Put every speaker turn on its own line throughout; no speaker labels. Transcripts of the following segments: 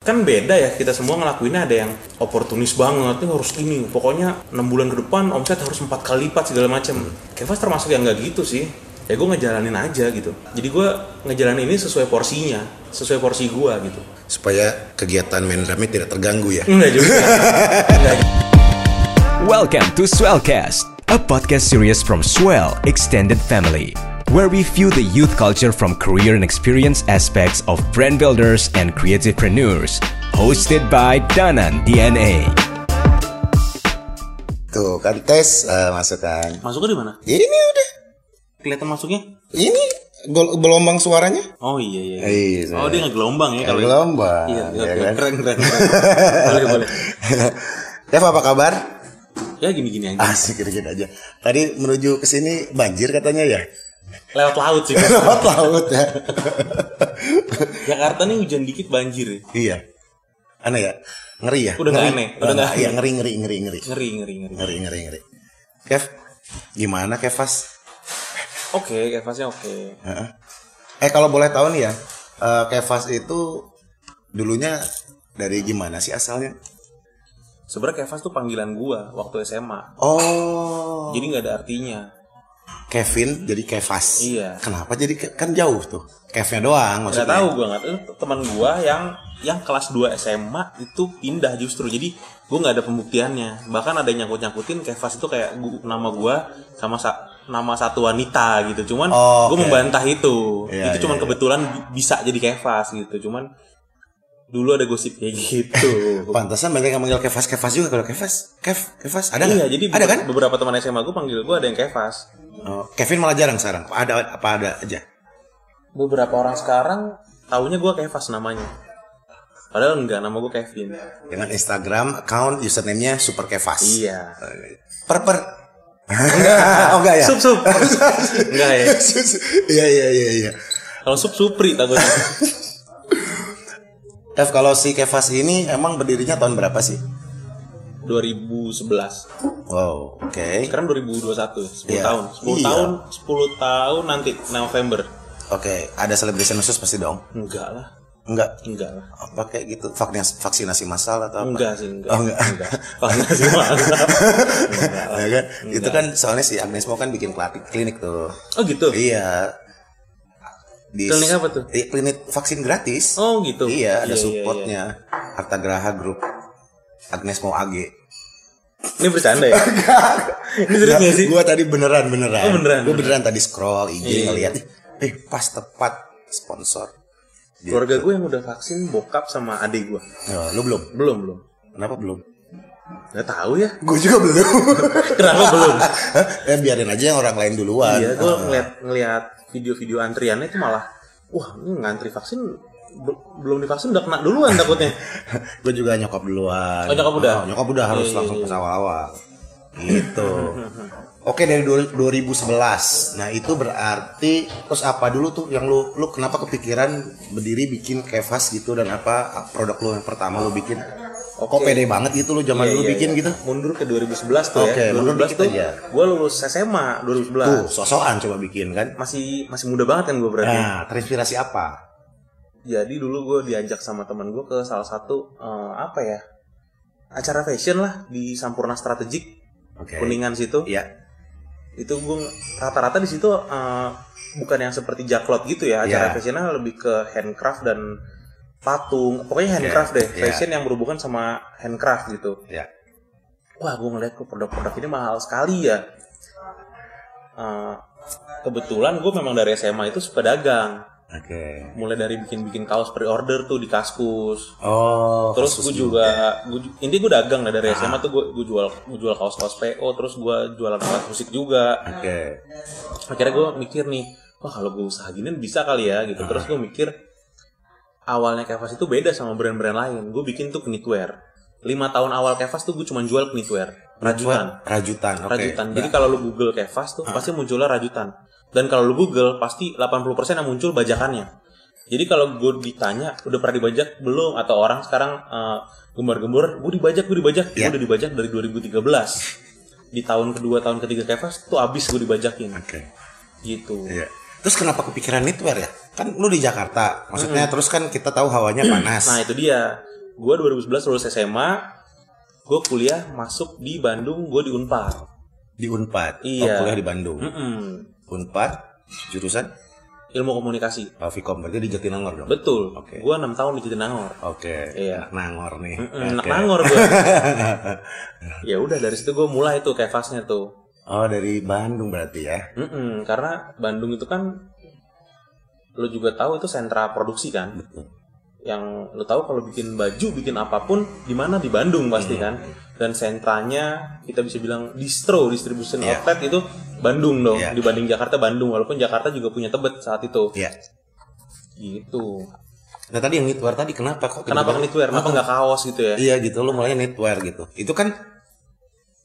kan beda ya kita semua ngelakuinnya ada yang oportunis banget nih harus ini pokoknya enam bulan ke depan omset harus empat kali lipat segala macam Kevas termasuk yang nggak gitu sih ya gue ngejalanin aja gitu jadi gue ngejalanin ini sesuai porsinya sesuai porsi gue gitu
supaya kegiatan main drumnya tidak terganggu ya.
enggak juga Enggak juga.
Welcome to Swellcast, a podcast series from Swell Extended Family, where we view the youth culture from career and experience aspects of brand builders and creativepreneurs. Hosted by Danan DNA.
Tuh kan tes eh, masukan.
masuknya di mana
Ini udah.
kelihatan masuknya
Ini gol- gelombang suaranya.
oh iya iya,
Iya,
oh dia ngegelombang ya kalau
Gelombang.
iya, iya,
ya
oke.
kan?
keren keren, keren. boleh boleh
Dev apa kabar?
ya gini gini aja
Asik dikit aja. Tadi menuju ke sini banjir katanya ya.
lewat laut sih
Lewat laut ya.
Jakarta nih hujan dikit banjir ya.
iya. Aneh ya. Ngeri ya.
Udah nggak aneh, udah nggak
Iya ngeri ngeri ngeri ngeri.
ngeri ngeri ngeri
Ngeri ngeri ngeri. Kev, gimana Kevas?
oke Kevasnya oke
Heeh. Eh kalau boleh tahu nih ya, eh, Kevas itu dulunya dari gimana sih asalnya?
sebenarnya Kevas tuh panggilan gua waktu SMA
Oh,
jadi nggak ada artinya
Kevin jadi Kevas.
Iya.
Kenapa jadi Ke- kan jauh tuh? Kevnya doang maksudnya.
nggak tahu gua nggak tahu teman gua yang yang kelas 2 SMA itu pindah justru jadi gua nggak ada pembuktiannya bahkan ada yang nyangkut nyangkutin Kevas itu kayak gu- nama gua sama sa- nama satu wanita gitu cuman
Oh,
gua
oke.
membantah itu
Iya,
itu
iya,
cuman
iya.
kebetulan bi- bisa jadi Kevas gitu cuman dulu ada gosip kayak gitu
Pantasan banyak yang manggil Kevas Kevas juga kalau Kevas Kev Kevas ada
Iya,
nggak?
jadi
ada
beber-
kan?
beberapa teman SMA gue panggil gue ada yang kevas.
Oh, Kevin malah jarang sekarang. Apa Ada apa ada aja.
Beberapa orang sekarang taunya gue kevas namanya. Padahal enggak, nama gue Kevin.
Dengan Instagram account username-nya Super Kevas.
Iya.
Per per. oh enggak ya.
Sup sup. enggak ya.
Iya iya iya iya.
Kalau sup supri takutnya.
Kev kalau si Kevas ini emang berdirinya tahun berapa sih?
2011.
Wow, oke.
Sekarang 2021, 10
Iya.
tahun. 10
Iya.
tahun, 10 tahun nanti November.
Oke, ada celebration khusus pasti dong.
Enggak lah.
Enggak
Enggak lah.
apa kayak gitu vaksinasi, vaksinasi massal atau apa?
Enggak sih, enggak.
Oh, enggak.
Kalau enggak sih malah. Enggak lah.
Ya kan? Itu kan soalnya si Agnes mau kan bikin klati- klinik tuh.
Oh gitu.
Iya. Di,
Klinik apa tuh?
Iya, klinik vaksin gratis.
Oh gitu.
Iya, ada
iya,
supportnya. Harta Graha Group. Agnes mau AG.
Ini bercanda ya? Ini serius gak sih?
Gue tadi beneran beneran.
Oh, beneran.
Gue beneran tadi scroll IG
Iya.
ngeliat. Eh pas tepat sponsor. Gitu.
Keluarga gue yang udah vaksin bokap sama adik gue.
Oh, lu belum?
Eh, Belum, belum.
Kenapa belum?
Gak tahu ya.
Gue juga belum.
Kenapa belum?
Hah? eh biarin aja yang orang lain duluan.
Iya, gue
Ah.
ngeliat, ngeliat video-video antriannya itu malah, wah ini ngantri vaksin be- belum divaksin udah kena duluan takutnya.
Iya, gue juga nyokap duluan.
Oh, nyokap udah?
Oh, nyokap udah harus
Iya, iya,
langsung
iya.
pas awal-awal. Gitu. Oke dari du- 2011. Nah itu berarti terus apa dulu tuh yang lu lu kenapa kepikiran berdiri bikin kevas gitu dan apa produk lu yang pertama lu bikin? Kok
Oke.
pede banget gitu lu zaman
Iya,
dulu
iya,
bikin
iya.
gitu?
Mundur ke 2011 tuh
Oke,
ya.
mundur
2011
dikit
tuh
aja.
gue lulus SMA 2011.
Tuh sosokan coba bikin kan?
Masih masih muda banget kan gue berarti.
Nah terinspirasi apa?
Jadi dulu gue diajak sama teman gue ke salah satu eh, apa ya acara fashion lah di Sampurna Strategik
Oke.
Kuningan situ.
Iya.
itu gue rata-rata di situ eh, bukan yang seperti jaklot gitu ya acara
Yeah.
fashionnya lebih ke handcraft dan patung pokoknya handcraft deh
yeah.
fashion yang berhubungan sama handcraft gitu
Yeah.
wah gue ngeliat kok produk-produk ini mahal sekali ya Eh, kebetulan gue memang dari SMA itu suka dagang
Oke.
mulai dari bikin-bikin kaos pre-order tuh di kaskus
Oh.
terus
khusus
gue
dulu.
juga gua ju- intinya gue dagang lah dari SMA tuh gue jual gua jual kaos kaos PO terus gue jualan alat musik juga
Oke.
akhirnya gue mikir nih wah kalau gue usaha gini bisa kali ya gitu terus gue mikir awalnya Kevas itu beda sama brand-brand lain gue bikin tuh knitwear lima tahun awal Kevas tuh gue cuma jual knitwear rajutan
Rajutan. Oke. Nah.
rajutan jadi kalau lu google Kevas tuh pasti munculnya rajutan dan kalau lu google pasti 80% yang muncul bajakannya jadi kalau gue ditanya udah pernah dibajak belum atau orang sekarang eh, gembar-gembor gue dibajak gue dibajak
Iya.
gue udah dibajak dari 2013 di tahun kedua tahun ketiga Kevas tuh abis gue dibajakin
Oke.
gitu.
Iya. Terus kenapa kepikiran knitwear ya? Kan lu di Jakarta. Maksudnya terus kan kita tahu hawanya panas.
Nah itu dia. Gue 2011 lulus SMA, gue kuliah masuk di Bandung, gue di Unpar.
Di Unpad.
Iya.
Oh, kuliah di Bandung.
Mm-mm.
Unpad jurusan
Ilmu komunikasi.
Pavikom berarti di Jatinangor dong.
Betul.
Oke.
Gue 6 tahun di Jatinangor.
Oke.
Iya.
Nangor nih.
Mm-mm, Anak
Oke.
nangor gue. ya udah dari situ gue mulai tuh kevasnya tuh.
Oh, dari Bandung berarti ya.
Mm-mm, karena Bandung itu kan lo juga tahu itu sentra produksi kan.
Betul.
Yang lo tahu kalau bikin baju, bikin apapun di mana di Bandung pasti
Hmm.
kan. Dan sentranya kita bisa bilang distro distribution
Iya.
outlet itu Bandung dong
Iya.
dibanding Jakarta Bandung walaupun Jakarta juga punya Tebet saat itu.
Iya.
Gitu.
Nah, tadi yang knitwear tadi kenapa kok?
Kenapa knitwear?
tiba-tiba-
Kenapa nggak kaos gitu ya?
Iya gitu, lu mulai knitwear gitu. Itu kan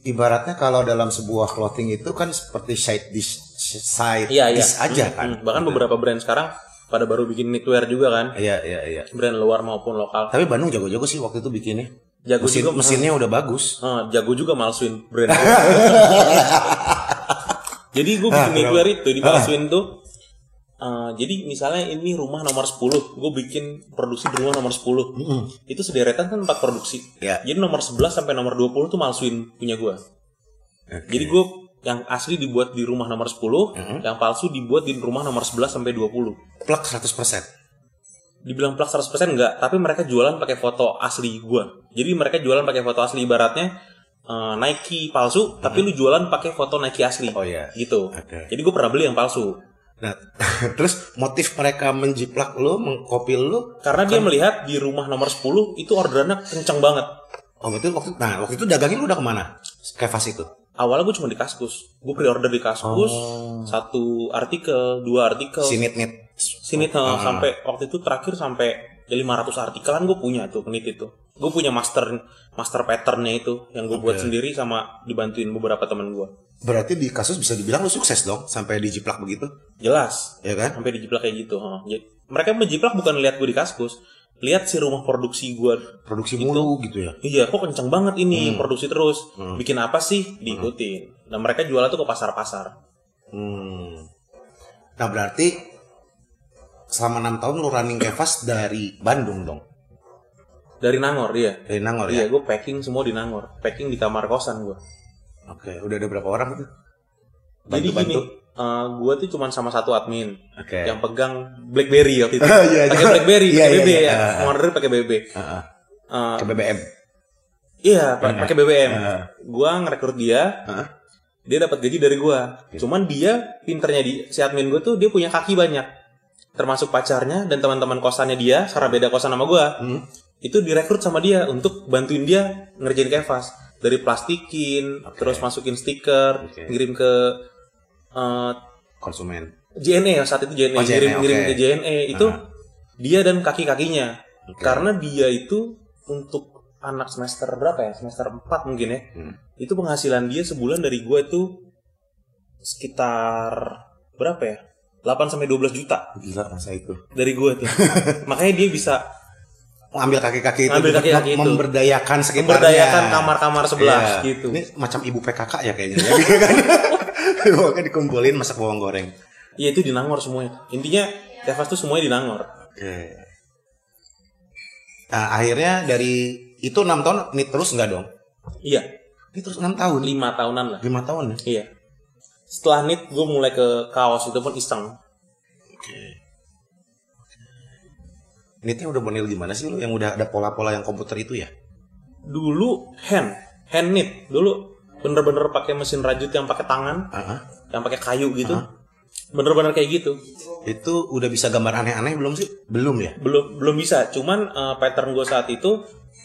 ibaratnya kalau dalam sebuah clothing itu kan seperti side dish, side
Iya, iya.
dish aja
Mm,
kan.
mm. Bahkan beberapa brand sekarang pada baru bikin knitwear juga kan.
Iya, iya, iya.
Brand luar maupun lokal.
Tapi Bandung jago-jago sih waktu itu bikinnya.
Jago
Mesin,
juga
mesinnya udah bagus.
Eh, jago juga malsuin brand. jadi gue bikin knitwear itu dipalsuin tuh. eh, jadi misalnya ini rumah nomor 10, gue bikin produksi di rumah nomor 10. Itu sederetan kan tempat produksi.
Iya.
Jadi nomor 11 sampai nomor 20 tuh malsuin punya gue. Jadi gue yang asli dibuat di rumah nomor 10, yang palsu dibuat di rumah nomor 11 sampai 20.
Plak 100%.
dibilang plus 100% enggak, tapi mereka jualan pakai foto asli gua. Jadi mereka jualan pakai foto asli ibaratnya eh, Nike palsu, tapi lu jualan pakai foto Nike asli.
Hmm. Oh, iya.
Gitu.
Oke.
Jadi gua pernah beli yang palsu.
Nah, terus motif mereka menjiplak lu, mengkopil lu.
Karena dia
Kan-
melihat di rumah nomor 10 itu orderannya kenceng banget.
Oh, berarti waktu nah waktu itu dagangnya lu udah kemana? Kevas itu.
Awalnya gua cuma di Kaskus. Gua pre-order di Kaskus
Oh.
satu artikel, dua artikel.
Si knit-knit.
Sini tuh, sampai waktu itu terakhir sampai ya 500 artikelan gue punya tuh penit itu. Gue punya master master patternnya itu yang gue buat sendiri sama dibantuin beberapa teman gua.
Berarti di kasus bisa dibilang lu sukses dong sampai dijiplak begitu,
jelas
ya kan?
sampai dijiplak kayak gitu ha. Ya, mereka menjiplak bukan lihat gue di kaskus lihat si rumah produksi gue
Produksi mulu gitu ya.
iya kok kencang banget ini produksi terus bikin apa sih diikutin dan mereka jualan tuh ke pasar pasar
Hmm. Nah berarti selama enam tahun lu running kevas dari Bandung dong,
dari Nangor dia
dari Nangor
iya
ya.
gue packing semua di Nangor packing di kamar kosan gue
Oke, udah ada berapa orang itu?
jadi gini
Bantu-bantu?
gue tuh cuman sama satu admin
Oke.
yang pegang BlackBerry waktu itu
Eh. Iya,
pakai
iya.
BlackBerry
Iya,
pakai
iya,
BB
iya.
ya
Ah, ah.
order pakai BB
Heeh.
Eh,
Ke BBM.
iya pa- pakai BBM
Ah.
gue ngerekrut dia
Heeh.
dia dapat gaji dari gua.
Iya.
Cuman dia pinternya di si admin gua tuh dia punya kaki banyak. Termasuk pacarnya dan teman-teman kosannya dia karena beda kosan sama gua.
Hmm.
Itu direkrut sama dia untuk bantuin dia ngerjain kevas dari plastikin, terus masukin stiker,
Oke.
ngirim ke eh,
Konsumen.
JNE ya, saat itu JNE,
Oh, JNE,
ngirim ngirim
oke.
ke JNE itu
Ah.
dia dan kaki-kakinya.
Oke.
Karena dia itu untuk anak semester berapa ya? Semester 4 mungkin ya
Hmm.
itu penghasilan dia sebulan dari gue itu sekitar berapa ya? 8 sampai 12 juta
Gila masa itu.
dari gue tuh. Makanya dia bisa
Ngambil kaki-kaki itu,
Ngambil
mem-
kaki-kaki itu.
memberdayakan sekitarnya.
memberdayakan kamar-kamar sebelah
Iya.
gitu.
Ini macam ibu PKK ya kayaknya. Ya, Iya kan? Pokoknya dikumpulin masak bawang goreng.
Iya itu di Nangor semuanya. Intinya Tevas tuh semuanya di Nangor.
Oke. Nah, akhirnya dari itu enam tahun ini terus nggak dong?
Iya,
Ini terus enam tahun,
5 tahunan lah.
lima tahun ya?
Iya. Setelah nit gue mulai ke kaos itu pun iseng.
Nitnya udah model gimana sih lu yang udah ada pola-pola yang komputer itu ya?
Dulu hand, hand knit. Dulu bener-bener pakai mesin rajut yang pakai tangan,
Heeh.
yang pakai kayu gitu. Bener-bener kayak gitu.
Itu udah bisa gambar aneh-aneh belum sih? Belum ya?
belum belum bisa cuman eh, pattern gue saat itu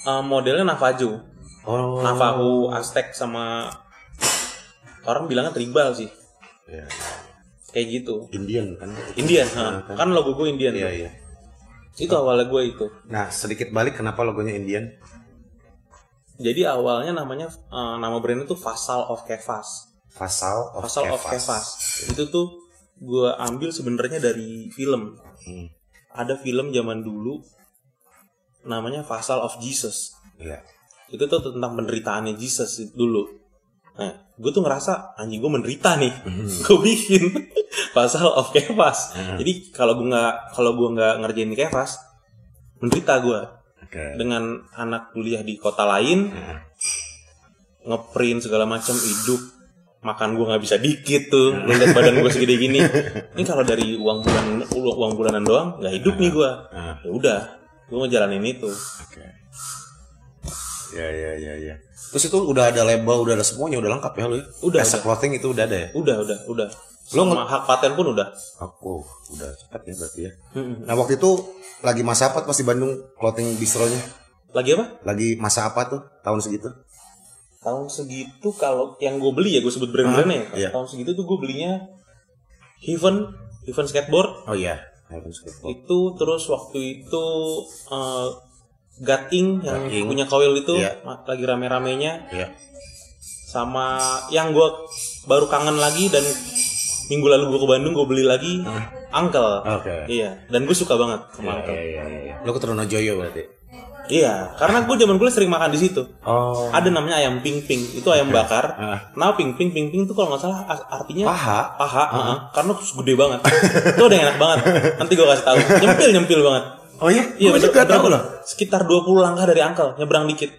eh, modelnya Navajo
Oh.
Navajo Aztec sama orang bilangnya tribal sih
Ya.
kayak gitu
Indian kan?
Indian ha. kan logo gue Indian
Iya iya.
itu awalnya gue itu
Nah sedikit balik kenapa logonya Indian?
jadi awalnya namanya eh, nama brandnya tuh Vassal of Kevas
Fasal of
Vassal of
Kevas.
Kevas itu tuh gue ambil sebenarnya dari film
Hmm.
ada film zaman dulu namanya Vassal of Jesus
Iya.
itu tuh tentang penderitaannya Jesus dulu nah gue tuh ngerasa anjing gue menderita nih gue bikin pasal of kevas jadi kalau gue nggak kalau gue nggak ngerjain kevas menderita gue
Oke.
dengan anak kuliah di kota lain ngeprint segala macam hidup makan gue nggak bisa dikit tuh lu liat badan gue segede gini ini kalau dari uang bulan uang uang bulanan doang nggak hidup nih gue
Ah.
ya udah gue ngejalanin itu
Oke. Ya ya ya ya. Terus itu udah ada label, udah ada semuanya, udah lengkap ya lu ya?
Udah,
Asset
udah.
clothing itu udah ada ya?
udah udah udah
Lu
lo hak paten pun udah
Aku Ah, udah cepat ya berarti ya.
Mm-mm.
Nah waktu itu lagi masa apa pas di Bandung clothing bistronya?
lagi apa
Lagi masa apa tuh tahun segitu?
tahun segitu kalau yang gue beli ya gue sebut brand-brandnya
Ah, iya.
ya. tahun segitu tuh gue belinya Heaven Heaven skateboard
Oh iya. Heaven Skateboard.
itu terus waktu itu eh, Gating yang
Gating.
punya coil itu
Iya.
ma- lagi rame-ramenya
Iya.
sama yang gue baru kangen lagi dan minggu lalu gue ke Bandung gue beli lagi Uncle
Ah. Oke.
iya dan gue suka banget sama
Iya
Uncle
iya iya. Lu ke Trunojoyo berarti?
iya karena gue zaman kuliah sering makan di situ
Oh.
ada namanya ayam ping ping itu ayam bakar
Ah.
nah ping ping ping ping itu kalau nggak salah as- artinya
Paha.
paha heeh. karena gede banget itu udah enak banget nanti gue kasih tahu nyempil nyempil banget
Oh iya.
iya
Gua
bener-
juga tahu
berapa?
loh.
sekitar 20 langkah dari angkel nyebrang dikit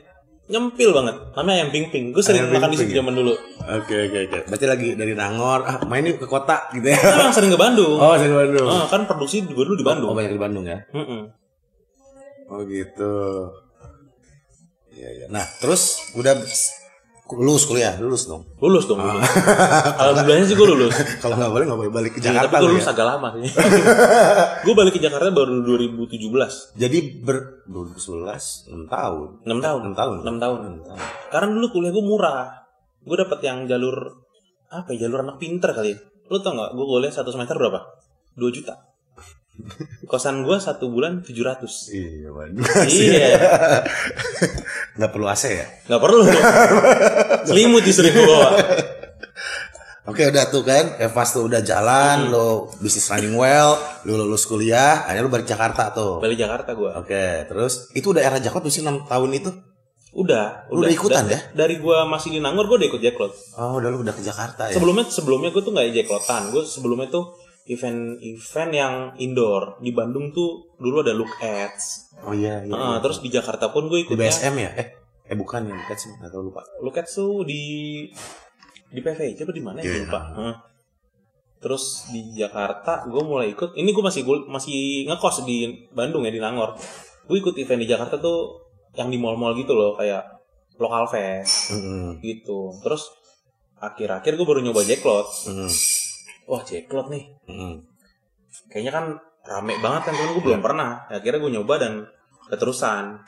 nyempil banget namanya ayam ping ping gue sering
Ayam
makan di
ping-ping ya?
situ zaman dulu
Oke oke oke. Berarti lagi dari Nangor, ah main yuk ke kota gitu ya.
Gue emang sering ke Bandung
Oh, dari Bandung.
Heeh, kan produksi juga dulu di Bandung
Oh, banyak di Bandung ya.
Heeh.
Oh gitu. Iya iya. Nah terus udah lulus kuliah lulus dong.
lulus dong lulus.
Ah.
alhamdulillahnya sih gue lulus
Kalau nggak boleh nggak boleh balik ke
Iya, tapi
Jakarta
gue
lu
lulus
ya.
agak lama sih gue balik ke Jakarta baru 2017
Jadi ber 2011 6 tahun.
6 tahun
6 tahun.
6 tahun.
Enam tahun.
Karena dulu kuliah gue murah. Gue dapet yang jalur apa ya? Jalur anak pinter kali. ya. Lu tau gak? Gue kuliah satu semester berapa? 2 juta. Kosan gue satu bulan 700
Iya Bandung.
Iya,
Nggak perlu AC ya.
nggak perlu. Selimut justru gue bawa.
Oke udah tuh kan, Evas tuh udah
Hmm.
jalan, lo bisnis running well, lo lulus kuliah, akhirnya lo balik Jakarta tuh.
Balik Jakarta gue.
Oke, terus itu udah era Jakarta sih 6 tahun itu?
Udah,
Lu udah ikutan ya?
Dari gue masih di Nangor gue udah ikut jaklot.
Oh, udah lu udah ke Jakarta ya.
Sebelumnya sebelumnya gue tuh nggak jacklotan. Gue sebelumnya tuh event-event yang indoor di Bandung tuh dulu ada look ads.
Oh iya, iya.
Ah,
iya.
terus di Jakarta pun gue
di
ikutnya.
BSM ya? Eh, eh bukan ya, bukan sih, atau lupa.
Luketsu di di PV coba di mana ya
Iya.
lupa. Heeh. Terus di Jakarta gue mulai ikut. Ini gue masih gua- masih ngekos di Bandung ya di Nangor. Gue ikut event di Jakarta tuh yang di mall-mall gitu loh kayak lokal fest
Mm-mm.
gitu. Terus akhir-akhir gue baru nyoba jacklot.
Mm-mm.
Wah jacklot nih.
Mm-mm.
Kayaknya kan rame banget kan cuman gue belum pernah. Akhirnya gue nyoba dan keterusan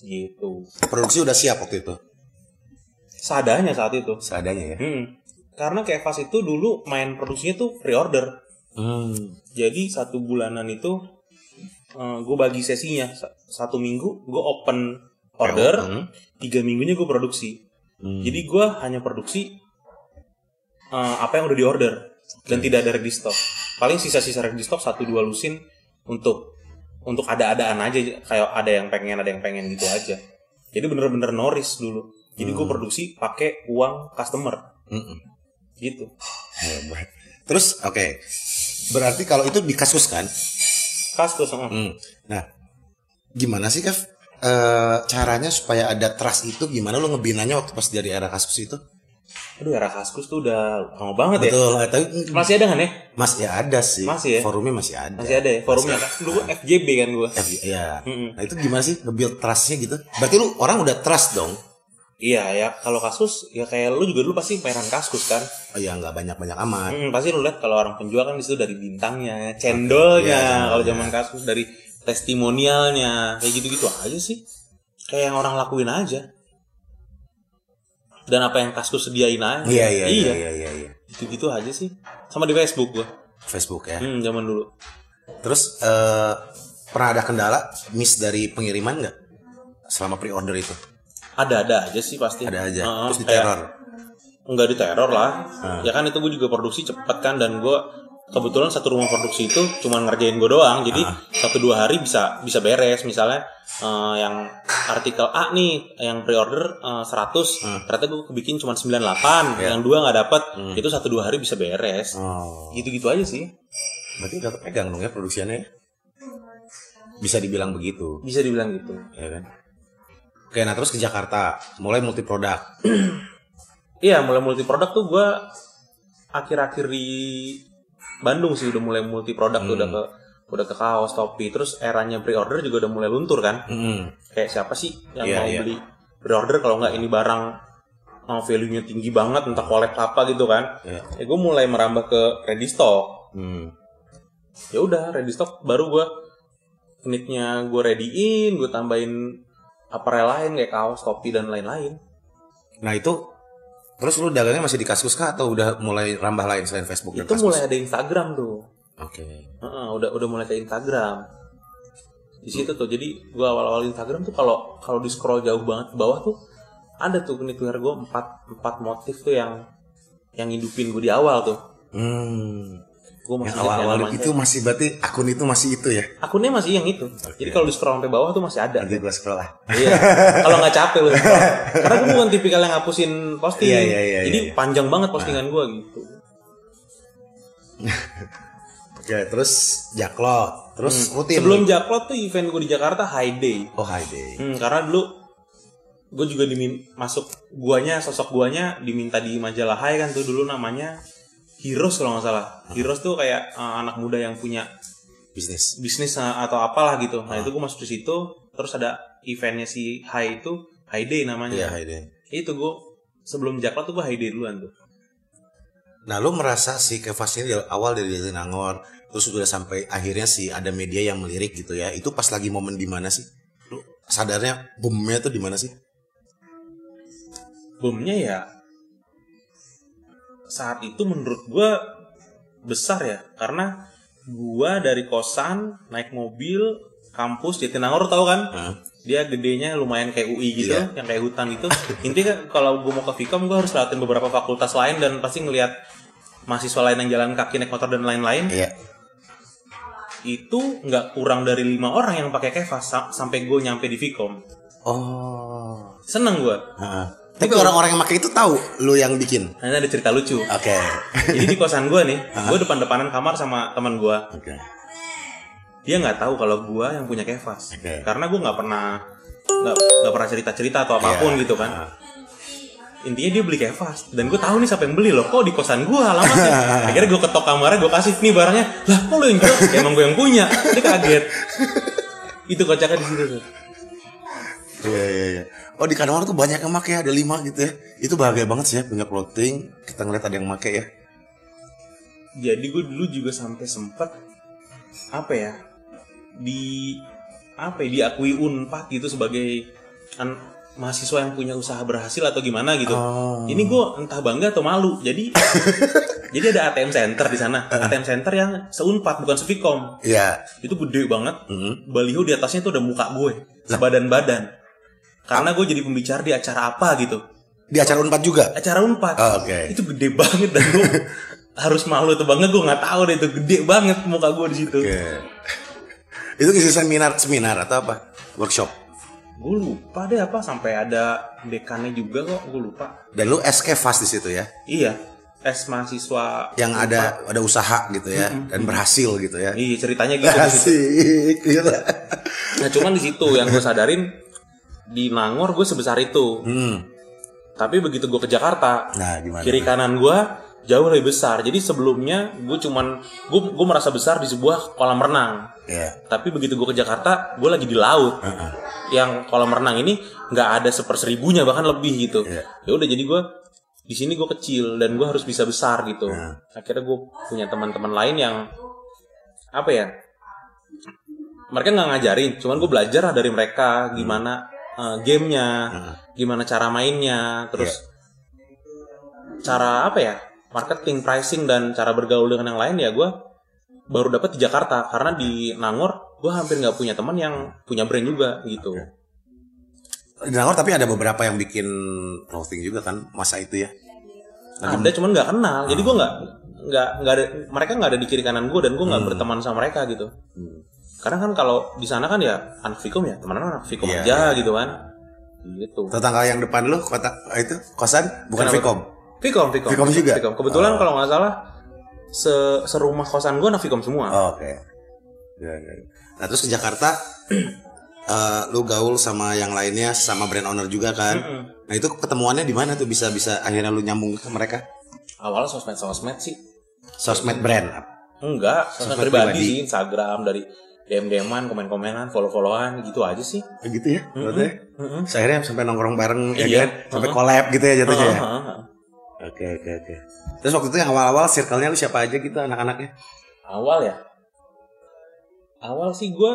gitu.
Produksi udah siap waktu itu,
Seadanya saat itu.
seadanya ya.
Hmm. Karena Kevas itu dulu main produksinya tuh pre-order.
Mm.
Jadi satu bulanan itu gue bagi sesinya Sa- satu minggu gue open order,
Mm.
tiga minggunya gue produksi.
Mm.
Jadi gue hanya produksi eh, apa yang udah di order dan tidak ada ready stock. Paling sisa-sisa ready stock satu dua lusin untuk untuk ada-adaan aja kayak ada yang pengen ada yang pengen gitu aja. Jadi bener-bener noris dulu. Jadi gue produksi pakai uang customer
Mm-mm.
gitu.
Hebat. Terus, oke. Berarti kalau itu di kasus kan?
Kaskus heeh.
Mm. Nah, gimana sih Kev? Eh, caranya supaya ada trust itu gimana lu ngebinanya waktu pas dari era kasus itu?
Aduh era Kaskus tuh udah lama banget ya.
Betul, eh, tapi
Masih ada kan ya?
Mas ya ada sih.
Masih ya?
Forumnya masih ada.
Masih ada Mm. ya forumnya kan? Dulu FJB kan gua.
F- ya.
Mm-mm.
Nah itu gimana sih nge-build trustnya gitu? Berarti lu orang udah trust dong?
Iya ya, kalau kasus ya kayak lu juga dulu pasti mainan kaskus kan.
Oh ya nggak banyak-banyak amat.
Mm, pasti lu lihat kalau orang penjual kan disitu dari bintangnya, cendolnya,
Iya,
kalau zaman kaskus dari testimonialnya, kayak gitu-gitu aja sih. Kayak yang orang lakuin aja. Dan apa yang kaskus sediain aja.
Iya iya iya
iya.
iya iya. iya.
Gitu-gitu aja sih. Sama di Facebook gua.
Facebook ya.
Hmm, zaman dulu.
Terus eh, pernah ada kendala miss dari pengiriman nggak? Selama pre-order itu
Ada-ada aja sih pasti.
ada aja.
Heeh,
Terus
kayak-
diteror.
nggak diteror lah ya kan itu gue juga produksi cepet kan dan gue kebetulan satu rumah produksi itu cuma ngerjain gue doang jadi satu dua hari bisa bisa beres misalnya eh, yang artikel A nih yang pre-order eh, 100 ternyata gue bikin cuma 98 yang dua nggak dapet itu satu dua hari bisa beres
Oh,
gitu gitu aja sih
berarti udah pegang dong ya produksiannya? ya? bisa dibilang begitu
bisa dibilang gitu
ya kan oke nah terus ke Jakarta mulai multi produk
iya mulai multi produk tuh gue akhir-akhir di Bandung sih udah mulai multi produk tuh
Hmm.
udah ke udah ke kaos topi terus eranya pre-order juga udah mulai luntur kan
Hmm.
kayak siapa sih yang
Iya,
mau
iya.
beli pre-order kalau nggak ini barang oh, value-nya tinggi banget entah collab apa gitu kan ya
Iya.
gue mulai merambah ke ready stock
Hmm.
ya udah ready stock baru gue unitnya gue readyin gue tambahin apparel lain kayak kaos topi dan lain-lain
nah itu terus lu dagangnya masih di Kaskus kah atau udah mulai rambah lain selain Facebook dan
itu
Kaskus?
mulai ada Instagram tuh
oke
Heeh, udah udah mulai ke Instagram di situ tuh jadi gue awal-awal Instagram tuh kalau kalau di scroll jauh banget ke bawah tuh ada tuh unit wear gue empat empat motif tuh yang yang hidupin gue di awal tuh
Hmm.
gue masih
yang
ingat
awal-awal gitu?
namanya.
itu masih berarti akun itu masih itu ya
akunnya masih yang itu jadi kalau di scroll sampai bawah tuh masih ada
nanti gua scroll lah
Iya. Kalau nggak capek lu. scroll. Karena gue bukan tipikal yang ngapusin posting.
Iya, iya, iya,
Jadi
iya.
panjang banget postingan gue gitu.
oke terus jaklot terus rutin
Sebelum Jaklot tuh event gue di Jakarta high day.
oh hi day
Hmm, karena dulu gue juga dimin masuk guanya sosok guanya diminta di majalah High kan tuh dulu namanya Heroes kalau nggak salah. Heroes tuh kayak eh, anak muda yang punya
bisnis
bisnis eh, atau apalah gitu. Nah, itu gue masuk di situ terus ada eventnya si High itu High Day namanya.
iya hi day
Itu gue sebelum Jaklot tuh gue high day duluan tuh.
Nah, lu merasa si Kevas ini dari awal dari Jatinangor, terus udah sampai akhirnya si ada media yang melirik gitu ya. Itu pas lagi momen di mana sih? Lu sadarnya boomnya tuh di mana sih?
bomnya ya saat itu menurut gue besar ya karena gua dari kosan naik mobil kampus Jatinangor tahu kan
Hah?
dia gedenya lumayan kayak UI gitu
Iya.
yang kayak hutan gitu intinya kan kalau gue mau ke Vkom gue harus lewatin beberapa fakultas lain dan pasti ngelihat mahasiswa lain yang jalan kaki naik motor dan lain-lain
Iya.
itu nggak kurang dari lima orang yang pakai kevas sa- sampai gue nyampe di Vkom
Oh.
seneng gue
Heeh. Tapi orang-orang yang pakai itu tahu lu yang bikin.
nah, ini ada cerita lucu
Oke.
jadi di kosan gue nih gue depan-depanan kamar sama teman gue
Oke.
dia nggak tahu kalau gua yang punya kevas
Oke.
karena gua nggak pernah nggak nggak pernah cerita cerita atau apapun
Iya.
gitu kan intinya dia beli kevas dan gue tahu nih siapa yang beli loh kok di kosan gue alamatnya akhirnya gue ketok kamarnya gue kasih nih barangnya lah kok lo yang jual "Ya, emang gue yang punya dia kaget itu kocaknya di situ tuh
Iya, iya, iya. Oh, di Kanawar tuh banyak yang pakai, ada lima gitu ya. Itu bahagia banget sih ya punya clothing. Kita ngeliat ada yang pakai ya.
jadi gue dulu juga sampai sempet apa ya di apa ya diakui unpad gitu sebagai an- mahasiswa yang punya usaha berhasil atau gimana gitu
Oh.
ini gue entah bangga atau malu jadi jadi ada ATM center di sana ATM center yang seunpad bukan sevikom
Iya.
itu gede banget
Mhm.
baliho di atasnya tuh udah muka gue sebadan badan karena gue jadi pembicara di acara apa gitu
Di acara Unpad juga.
acara unpad
Oh, oke.
itu gede banget dan gue harus malu atau bangga gue nggak tahu deh itu gede banget muka gue di situ
Oke. Iya. itu isi seminar seminar atau apa? Workshop.
gue lupa deh apa sampai ada dekannya juga kok gue lupa
Dan lu SK fast di situ ya,
iya es mahasiswa
yang ada ada usaha gitu ya dan berhasil gitu ya.
iya ceritanya gitu di situ.
Asik, gitu. gila.
nah cuman di situ yang gue sadarin di Nangor gue sebesar itu
Hmm.
tapi begitu gue ke Jakarta
Nah, gimana?
kiri kanan gue jauh lebih besar jadi sebelumnya gue cuman gue gue merasa besar di sebuah kolam renang
Ya.
tapi begitu gue ke Jakarta gue lagi di laut yang kolam renang ini nggak ada seperseribunya bahkan lebih gitu
Iya.
ya udah jadi gue di sini gue kecil dan gue harus bisa besar gitu akhirnya gue punya teman-teman lain yang apa ya mereka nggak ngajarin cuman gue belajar lah dari mereka gimana eh, gamenya gimana cara mainnya terus cara apa ya marketing pricing dan cara bergaul dengan yang lain ya gue baru dapat di Jakarta karena di Nangor gue hampir nggak punya teman yang punya brand juga gitu
Di Nangor tapi ada beberapa yang bikin clothing juga kan masa itu ya.
ada Nah, cuman nggak kenal jadi gue nggak nggak nggak ada mereka nggak ada di kiri kanan gue dan gue
Hmm.
nggak berteman sama mereka gitu karena kan kalau di sana kan ya anak Fikom ya teman anak Fikom
Iya,
aja gitu kan gitu
Tetangga yang depan lu kota itu kosan bukan
Kenapa?
Vicom.
Fikom Fikom
Fikom juga? Oh.
kebetulan kalau nggak salah se serumah kosan gue anak Fikom semua
Oh, Oke. Ya, ya. Nah terus ke Jakarta eh, lu gaul sama yang lainnya sama brand owner juga kan. Nah itu ketemuannya di mana tuh bisa bisa akhirnya lu nyambung ke mereka?
awalnya sosmed sosmed sih
Sosmed brand.
enggak sosmed,
Sosmed
pribadi,
pribadi.
sih Instagram dari DM DMan komen komenan follow followan gitu aja sih
Gitu ya. Berarti. Terus akhirnya sampai nongkrong bareng ya
Iya.
kan, sampai collab gitu ya jatuhnya ya.
Heeh, heeh.
Oke oke oke. Terus waktu itu yang awal-awal circle-nya lu siapa aja gitu anak-anaknya?
awal ya awal sih gue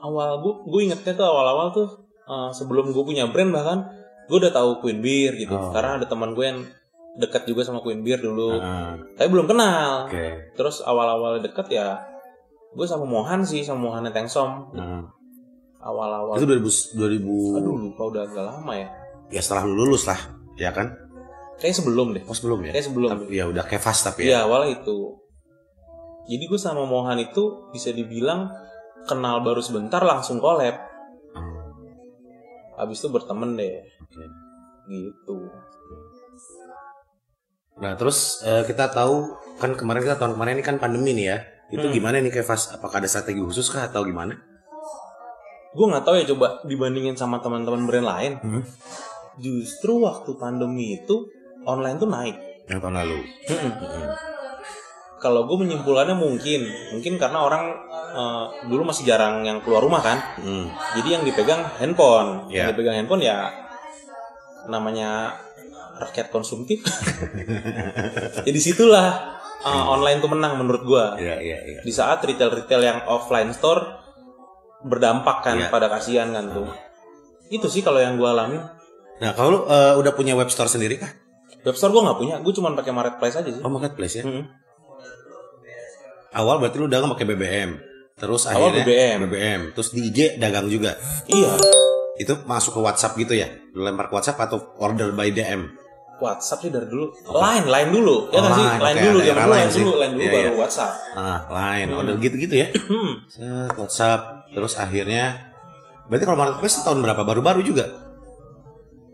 awal gue gue ingetnya tuh awal awal tuh eh, sebelum gue punya brand bahkan gue udah tahu Queen Beer gitu
Oh. Ah.
karena ada teman gue yang dekat juga sama Queen Beer dulu tapi belum kenal
Oke.
terus awal awal deket ya gue sama Mohan sih sama Mohan Tengsom awal awal
Ah. Itu 2000 2000
aduh lupa udah agak lama ya
ya setelah lu lulus lah, ya kan?
kayak sebelum deh
Oh sebelum ya?
kayak sebelum
Tapi ya udah kefas tapi ya.
Iya awal itu. Jadi gue sama Mohan itu bisa dibilang kenal baru sebentar langsung collab.
Ah.
Habis itu berteman deh.
Iya.
Gitu.
Nah terus eh, kita tahu kan kemarin kita tahun kemarin ini kan pandemi nih ya. Itu gimana nih kefas? Apakah ada strategi khusus kah atau gimana?
Gue nggak tahu ya coba dibandingin sama teman-teman brand lain. Justru waktu pandemi itu online tuh naik.
Yang tahun lalu.
Kalau gue menyimpulkannya mungkin, mungkin karena orang eh, dulu masih jarang yang keluar rumah kan.
Hmm.
Jadi yang dipegang handphone,
Iya.
yang dipegang handphone ya namanya rakyat konsumtif. Jadi situlah uh, online tuh menang menurut gua.
Iya iya iya.
Di saat retail-retail yang offline store berdampak kan
Iya.
pada kasihan kan tuh. Itu sih kalau yang gua alami.
Nah kalau lu eh, udah punya web store sendiri kah?
Web store gua nggak punya, gua cuma pakai marketplace aja sih.
Oh marketplace ya?
Mm-mm.
Awal berarti lu dagang pakai BBM. Terus
Awal
akhirnya
BBM.
Terus di IG dagang juga.
Iya,
Itu masuk ke WhatsApp gitu ya? Lu lempar ke WhatsApp atau order by DM?
WhatsApp sih dari dulu. Line, line dulu. Ya kan sih?
Oh, Line,
Line
oke,
dulu,
ada
zaman
era
dulu
line
line dulu,
sih.
line dulu
Iya,
baru
iya.
WhatsApp.
Nah, lain
Iya.
order gitu-gitu ya.
Hmm.
Set, WhatsApp, terus akhirnya berarti kalau marketplace tahun berapa? Baru-baru juga.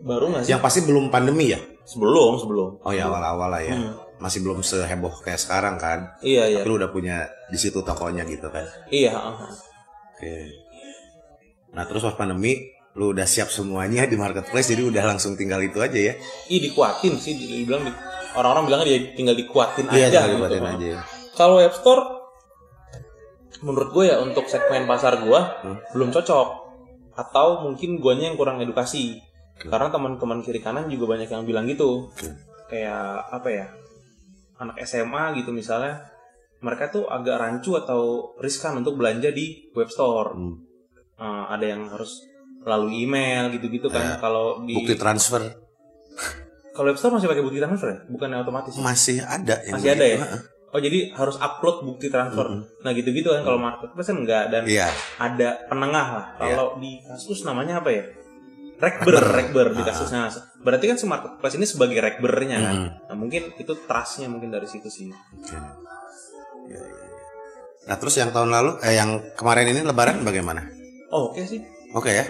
Baru nggak sih?
Yang pasti belum pandemi ya.
Sebelum, sebelum.
Oh ya awal-awal lah ya.
Hmm.
Masih belum seheboh kayak sekarang kan.
Iya, iya.
Tapi lu udah punya di situ tokonya gitu kan.
Iya, heeh.
Oke. Nah, terus pas pandemi lu udah siap semuanya di marketplace jadi udah langsung tinggal itu aja ya.
Ih dikuatin sih, dibilang di- orang-orang bilangnya dia tinggal dikuatin
Iya,
aja.
tinggal
gitu.
dibuatin aja ya.
Kalau App Store, menurut gue ya untuk segmen pasar gue belum cocok, atau mungkin guanya yang kurang edukasi. Karena teman-teman kiri kanan juga banyak yang bilang gitu. Kayak apa ya? Anak SMA gitu misalnya, mereka tuh agak rancu atau riskan untuk belanja di web store.
Hmm.
Eh, ada yang harus melalui email gitu-gitu kan. Kalau di
Bukti transfer
kalau App Store masih pakai bukti transfer ya? Bukan yang otomatis.
masih ada yang
masih ada ya?
begitu.
Oh jadi harus upload bukti transfer. Nah gitu-gitu kan kalau marketplace kan enggak dan
Iya.
ada penengah lah. Kalau di kasus namanya apa ya? Rekber,
Rekber. Ah.
rekber di kasusnya. Berarti kan si marketplace ini sebagai rekbernya
Hmm.
kan. Nah mungkin itu trustnya mungkin dari situ sih.
Oke. Ya, ya, ya. Nah terus yang tahun lalu, eh, yang kemarin ini Lebaran bagaimana?
Oh, Oke sih.
Oke ya.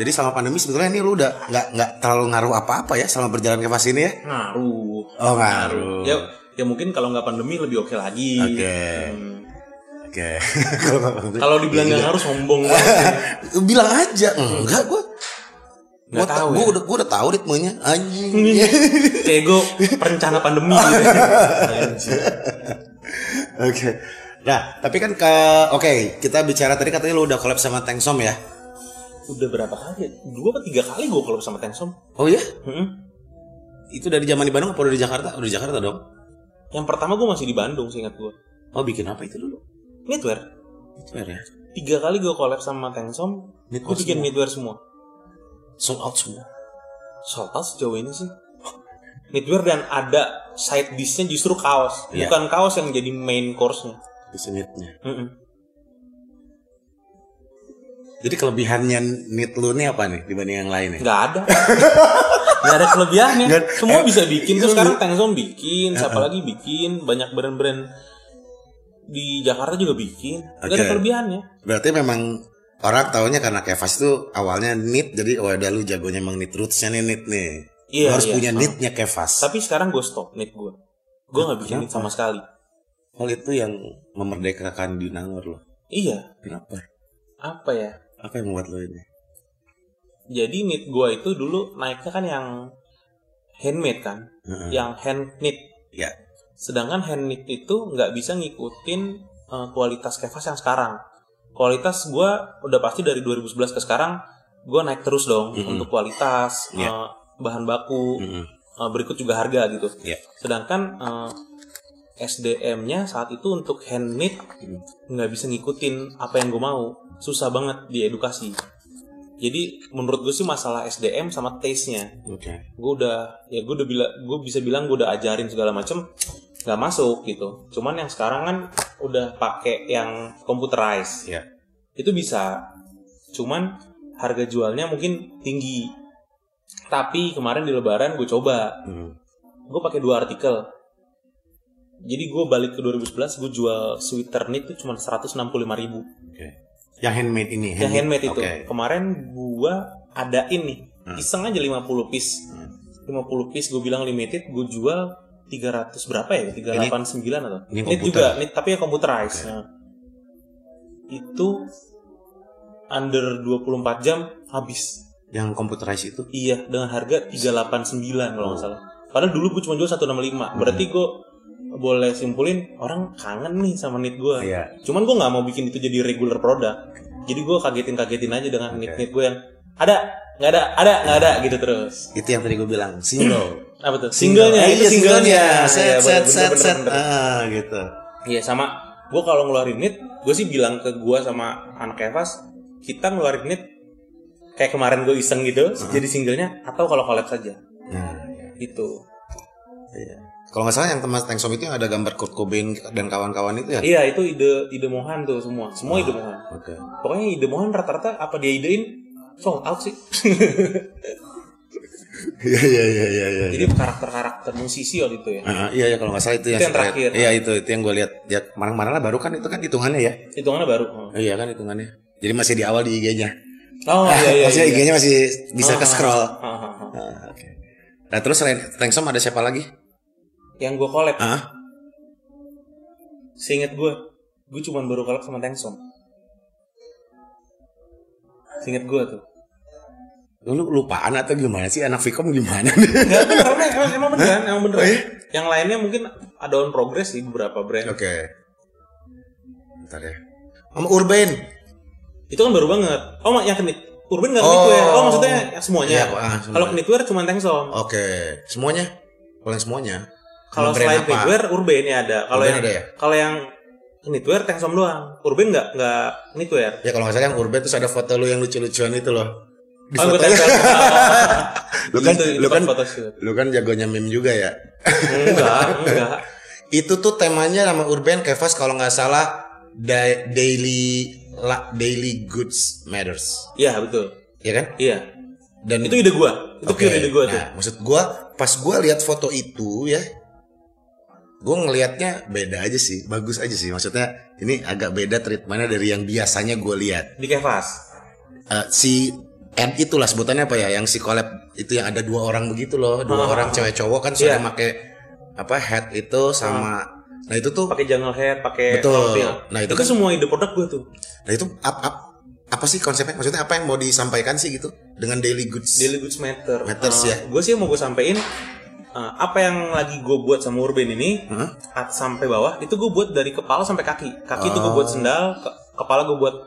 Jadi selama pandemi sebetulnya ini lu udah nggak nggak terlalu ngaruh apa-apa ya selama berjalan ke fase ini ya?
Ngaruh.
Oh ngaruh.
Ya, ya mungkin kalau nggak pandemi lebih oke lagi.
Oke.
Hmm.
Oke. Kalau nggak pandemi.
Kalau dibilang nggak ngaruh sombong banget.
bilang aja enggak gua.
Nggak
Gua
tahu
gua
ya. Iya.
udah gua udah tahu ritmenya anjing.
Kayak gue perencana pandemi gitu. Anjir.
Oke. Nah, tapi kan ke oke, kita bicara tadi katanya lu udah collab sama Tengsom ya.
Udah berapa kali? ya? Dua atau tiga kali gue kalau sama Tengsom.
Oh iya?
Mm-mm.
Itu dari zaman di Bandung apa udah di Jakarta? Udah di Jakarta dong.
Yang pertama gue masih di Bandung seingat gue.
Oh, bikin apa itu dulu?
Knitwear.
Itu ya.
Tiga kali gue collab sama Tengsom. Gue
Knitwear
bikin
semua.
knitwear semua.
Sold out semua.
Sold out sejauh ini sih. Knitwear dan ada side dishnya justru kaos.
Iya.
Bukan kaos yang jadi main course-nya.
Disenitnya.
Mm-mm.
Jadi kelebihannya knit lu nih apa nih dibanding yang lain ya?
Nggak ada. Nggak ada kelebihannya.
Nggak-
Semua
eh,
bisa bikin. Terus
iya,
sekarang Tengsom bikin. Siapa
eh.
lagi bikin. Banyak brand-brand di Jakarta juga bikin. Nggak ada
Oke.
kelebihannya.
Berarti memang orang taunya karena Kevas itu awalnya knit jadi oh ada lu jagonya emang knit rootsnya nih knit nih.
Iya,
Lu harus
iya.
punya knitnya Kevas.
Tapi sekarang gue stop knit gue. Gue nggak bikin knit sama sekali.
Hal itu yang memerdekakan di Nangor loh.
Iya.
Kenapa?
apa ya
Apa yang membuat lo ini?
jadi knit gua itu dulu naiknya kan yang handmade kan
Heeh.
yang hand knit
Ya.
sedangkan hand knit itu nggak bisa ngikutin eh, kualitas kevas yang sekarang kualitas gua udah pasti dari 2011 ke sekarang gua naik terus dong
Mm-mm.
untuk kualitas
Iya.
eh, bahan baku
Mm-mm.
eh, berikut juga harga gitu
Iya.
sedangkan eh, SDM-nya saat itu untuk hand knit
Mm.
nggak bisa ngikutin apa yang gue mau susah banget diedukasi jadi menurut gue sih masalah SDM sama taste-nya
Oke.
gue udah ya gue udah bila gue bisa bilang gue udah ajarin segala macem nggak masuk gitu cuman yang sekarang kan udah pakai yang computerized
Ya.
itu bisa cuman harga jualnya mungkin tinggi tapi kemarin di lebaran gue coba
Mm.
gue pakai dua artikel jadi gue balik ke 2011 gue jual sweater knit itu cuma 165 ribu
Oke. Yang handmade ini.
yang handmade itu
Iya, Oke.
kemarin gue adain nih
Hmm.
iseng aja 50 piece
Hmm.
50 piece gue bilang limited gue jual 300 berapa ya 389 atau
ini
knit
komputer.
juga knit tapi ya computerized Nah, itu under 24 jam habis
Yang computerized itu.
Iya, dengan harga 389 kalau nggak salah. Padahal dulu gue cuma jual 165. Berarti
Hmm.
gue boleh simpulin orang kangen nih sama knit gue.
Iya.
Cuman gue nggak mau bikin itu jadi regular produk. Jadi gue kagetin-kagetin aja dengan
Oke.
knit-knit gue yang ada, nggak ada, ada, nggak ada gitu terus.
Itu yang tadi gue bilang single.
Apa tuh? Singlenya,
Eh,
itu
iya, singlenya.
Iya,
Set, set,
bener,
set,
bener,
set.
bener, bener.
Ah, gitu.
Iya sama. Gue kalau ngeluarin knit, gue sih bilang ke gue sama anak Evas, kita ngeluarin knit kayak kemarin gue iseng gitu, jadi singlenya atau kalau collab saja
Nah, ya.
gitu.
Iya. Kalau nggak salah yang teman Tank Shop itu yang ada gambar Kurt Cobain dan kawan-kawan itu ya?
Iya itu ide ide Mohan tuh semua, semua
Ah.
ide Mohan.
Oke.
Pokoknya ide Mohan rata-rata apa dia idein sold out sih.
Iya iya iya iya iya.
Jadi karakter-karakter musisi waktu itu ya.
Ah, iya ya kalau nggak salah itu yang,
yang
saya-
terakhir.
Iya itu itu yang gue lihat ya kemarin-kemarin lah baru kan itu kan hitungannya ya.
Hitungannya baru.
Oh, iya kan hitungannya. Jadi masih di awal di IG-nya.
Oh iya iya.
Ah, Maksudnya
iya.
IG-nya masih bisa ke scroll.
Ah, ah, ah.
Oke. Nah terus selain Tank Shop ada siapa lagi?
Yang gue collab,
Ah,
seinget gue, gue cuman baru collab sama Tengsom. Seinget gue tuh.
lu lupaan atau gimana sih anak Vicom gimana?
Enggak beneran, emang, emang beneran, emang
Oh,
beneran.
iya?
Yang lainnya mungkin ada on progress sih beberapa brand.
Oke. Bentar ya. Sama Urban.
Itu kan baru banget. Oh yang knit. Urban nggak
Oh.
knitwear. Oh maksudnya yang semuanya.
Iya, ah, semuanya.
Kalau knitwear cuma Tengsom.
Oke. Semuanya? Kalau yang semuanya?
Kalau
Brand
selain
apa?
knitwear, urban ya ada. Kalau
Urban
yang
ada ya?
kalau yang knitwear Tengsom doang. Urban nggak nggak knitwear.
Ya kalau nggak salah yang urban terus ada foto lu yang lucu-lucuan itu loh. Di
Oh, gue
fotonya.
tempel.
lu kan
Itu- itu
lu
pas
kan
photoshoot.
lu kan jagonya meme juga ya.
Enggak, enggak.
Itu tuh temanya nama urban Kevas kalau nggak salah da- daily la- daily goods matters.
Iya, betul.
Ya kan?
Iya.
Dan
Itu ide gua. Itu
Oke,
pure ide gua tuh.
Nah, maksud gua pas gua lihat foto itu ya gua ngelihatnya beda aja sih, bagus aja sih. Maksudnya ini agak beda treatmentnya dari yang biasanya gua lihat.
Di kevas.
Eh, si ad itulah sebutannya apa ya yang si collab itu yang ada dua orang begitu loh dua
Ah,
orang
ah,
cewek cowok kan sudah
Iya.
pakai apa hat itu sama nah itu tuh
Pakai jungle hair, pakai
Betul.
cocktail.
Nah,
itu,
itu kan-
semua ide produk gua tuh.
nah itu ap, ap- apa sih konsepnya maksudnya apa yang mau disampaikan sih gitu dengan daily goods
Daily goods matter.
Matters, ya.
Gue sih yang mau gue sampein eh, apa yang lagi gue buat sama Urban ini
Hah?
at- sampai bawah itu gue buat dari kepala sampai kaki. Kaki itu gue buat sendal, ke- kepala gue buat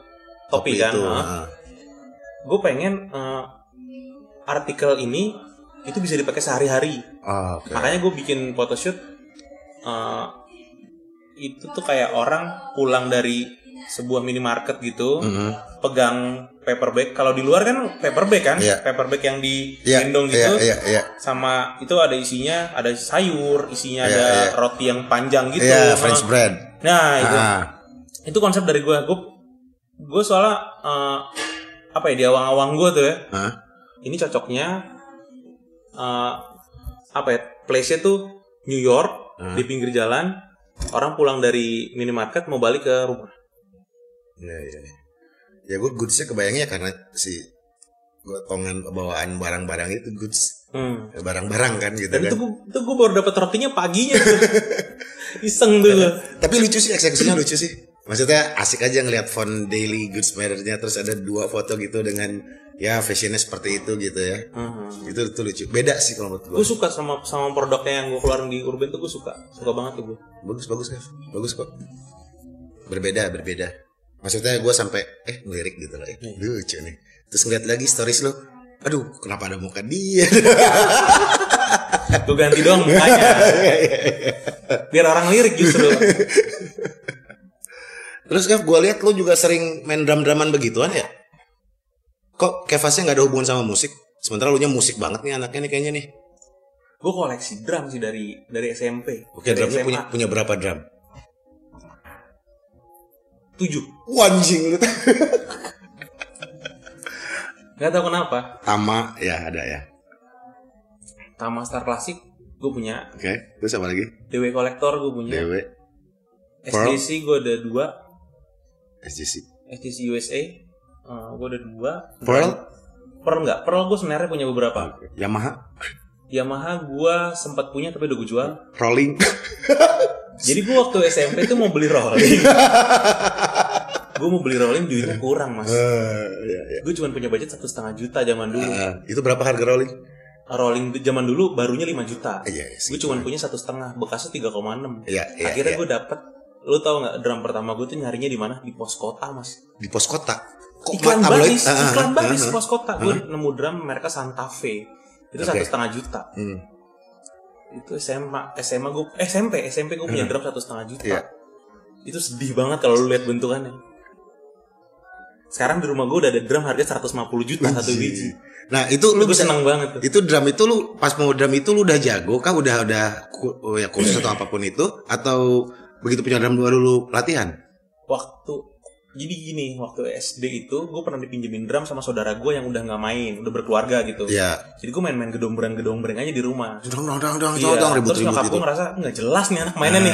topi, kan.
Oh. itu
Heeh.
ah.
gue pengen eh, artikel ini itu bisa dipakai sehari-hari.
Ah, oke
Makanya gue bikin photoshoot eh, itu tuh kayak orang pulang dari sebuah minimarket gitu,
Mhm.
pegang paper bag. Kalau di luar kan paper bag kan,
Iya.
paper bag yang
Iya,
digendong
iya,
gitu.
iya, iya.
Sama itu ada isinya, ada sayur, isinya
Iya,
ada
iya.
roti yang panjang gitu.
Iya,
Nah,
French bread.
Nah, itu
Ah,
itu konsep dari gue. Gue gue soalnya eh, apa ya di awang-awang gue tuh ya
ah.
ini cocoknya eh, apa ya place-nya tuh New York
Hmm.
di pinggir jalan orang pulang dari minimarket mau balik ke rumah
Iya, iya. iya. Ya gue goodsnya kebayangnya karena si gotongan bawaan barang-barang itu goods
Hmm.
barang-barang kan gitu
dan
kan.
itu gue itu gua baru dapat rotinya paginya tuh iseng tuh gua.
Tapi lucu sih eksekusinya lucu sih. Maksudnya asik aja ngelihat font daily goods matter-nya terus ada dua foto gitu dengan ya fashionnya seperti itu gitu ya. Itu itu lucu. Beda sih kalau menurut gua.
Gue suka sama sama produknya yang gue keluarin di Urban tuh gue suka. Suka banget tuh gue.
Bagus bagus Kev. Bagus kok. Berbeda berbeda. Maksudnya gua sampai eh ngelirik gitu loh. Eh, lucu nih. Terus ngeliat lagi stories lo. Aduh, kenapa ada muka dia?
Gue ganti doang mukanya. Biar orang lirik justru.
Terus Kev, gue lihat lo juga sering main drum-druman begituan ya? Kok Kevasnya nggak ada hubungan sama musik? Sementara lu nya musik banget nih anaknya nih kayaknya nih.
gue koleksi drum sih dari dari SMP.
Oke,
dari
drumnya punya punya berapa drum?
Tujuh.
Wanjing gitu. lu.
Gak tau kenapa.
Tama ya ada ya.
Tama Star Classic gue punya.
Oke, terus apa lagi?
DW Collector gue punya.
Dewe, Pearl.
SDC gue ada dua.
SJC.
SDC USA. eh, gue ada dua.
Pearl,
Pearl nggak? Pearl gue sebenarnya punya beberapa.
Yamaha,
Yamaha gue sempat punya tapi udah gue jual.
Rolling.
Jadi gue waktu SMP tuh mau beli rolling. gue mau beli rolling duitnya kurang mas.
Eh, ya, ya.
Gue cuma punya budget satu setengah juta zaman dulu.
Eh, itu berapa harga rolling?
Rolling du- zaman dulu barunya 5 juta.
Iya, iya,
gue cuma punya satu setengah. Bekasnya 3,6.
Iya, iya,
Akhirnya
iya.
gue dapet. Lo tau nggak drum pertama gue tuh nyarinya di mana? Di pos kota mas.
Di pos kota.
iklan
mat- tabloid?
baris,
Ah, ah,
iklan
ah,
baris
ah, ah.
pos kota. Gue nemu drum mereka Santa Fe. Itu
Oke.
satu setengah juta.
Hmm.
Itu SMA, SMA gue, SMP, SMP gue punya drum satu setengah juta.
Iya.
Itu sedih banget kalau lu lihat bentukannya. Sekarang di rumah gue udah ada drum harga 150 juta satu biji.
Nah, itu
Lu
lu
gue
bisa
seneng banget tuh.
itu drum itu lu pas mau drum itu lu udah jago kah udah udah ku- oh ya kursus atau apapun itu atau begitu punya drum baru lu latihan
Waktu jadi gini, waktu SD itu gue pernah dipinjemin drum sama saudara gue yang udah nggak main, udah berkeluarga gitu.
ya
Jadi gue main-main gedombrang-gedombrang aja di rumah.
dong dong dong dong
Iya,
dong ribut
terus
ribut
nyokap
gitu Ah.
gue ngerasa nggak jelas nih anak mainnya nih.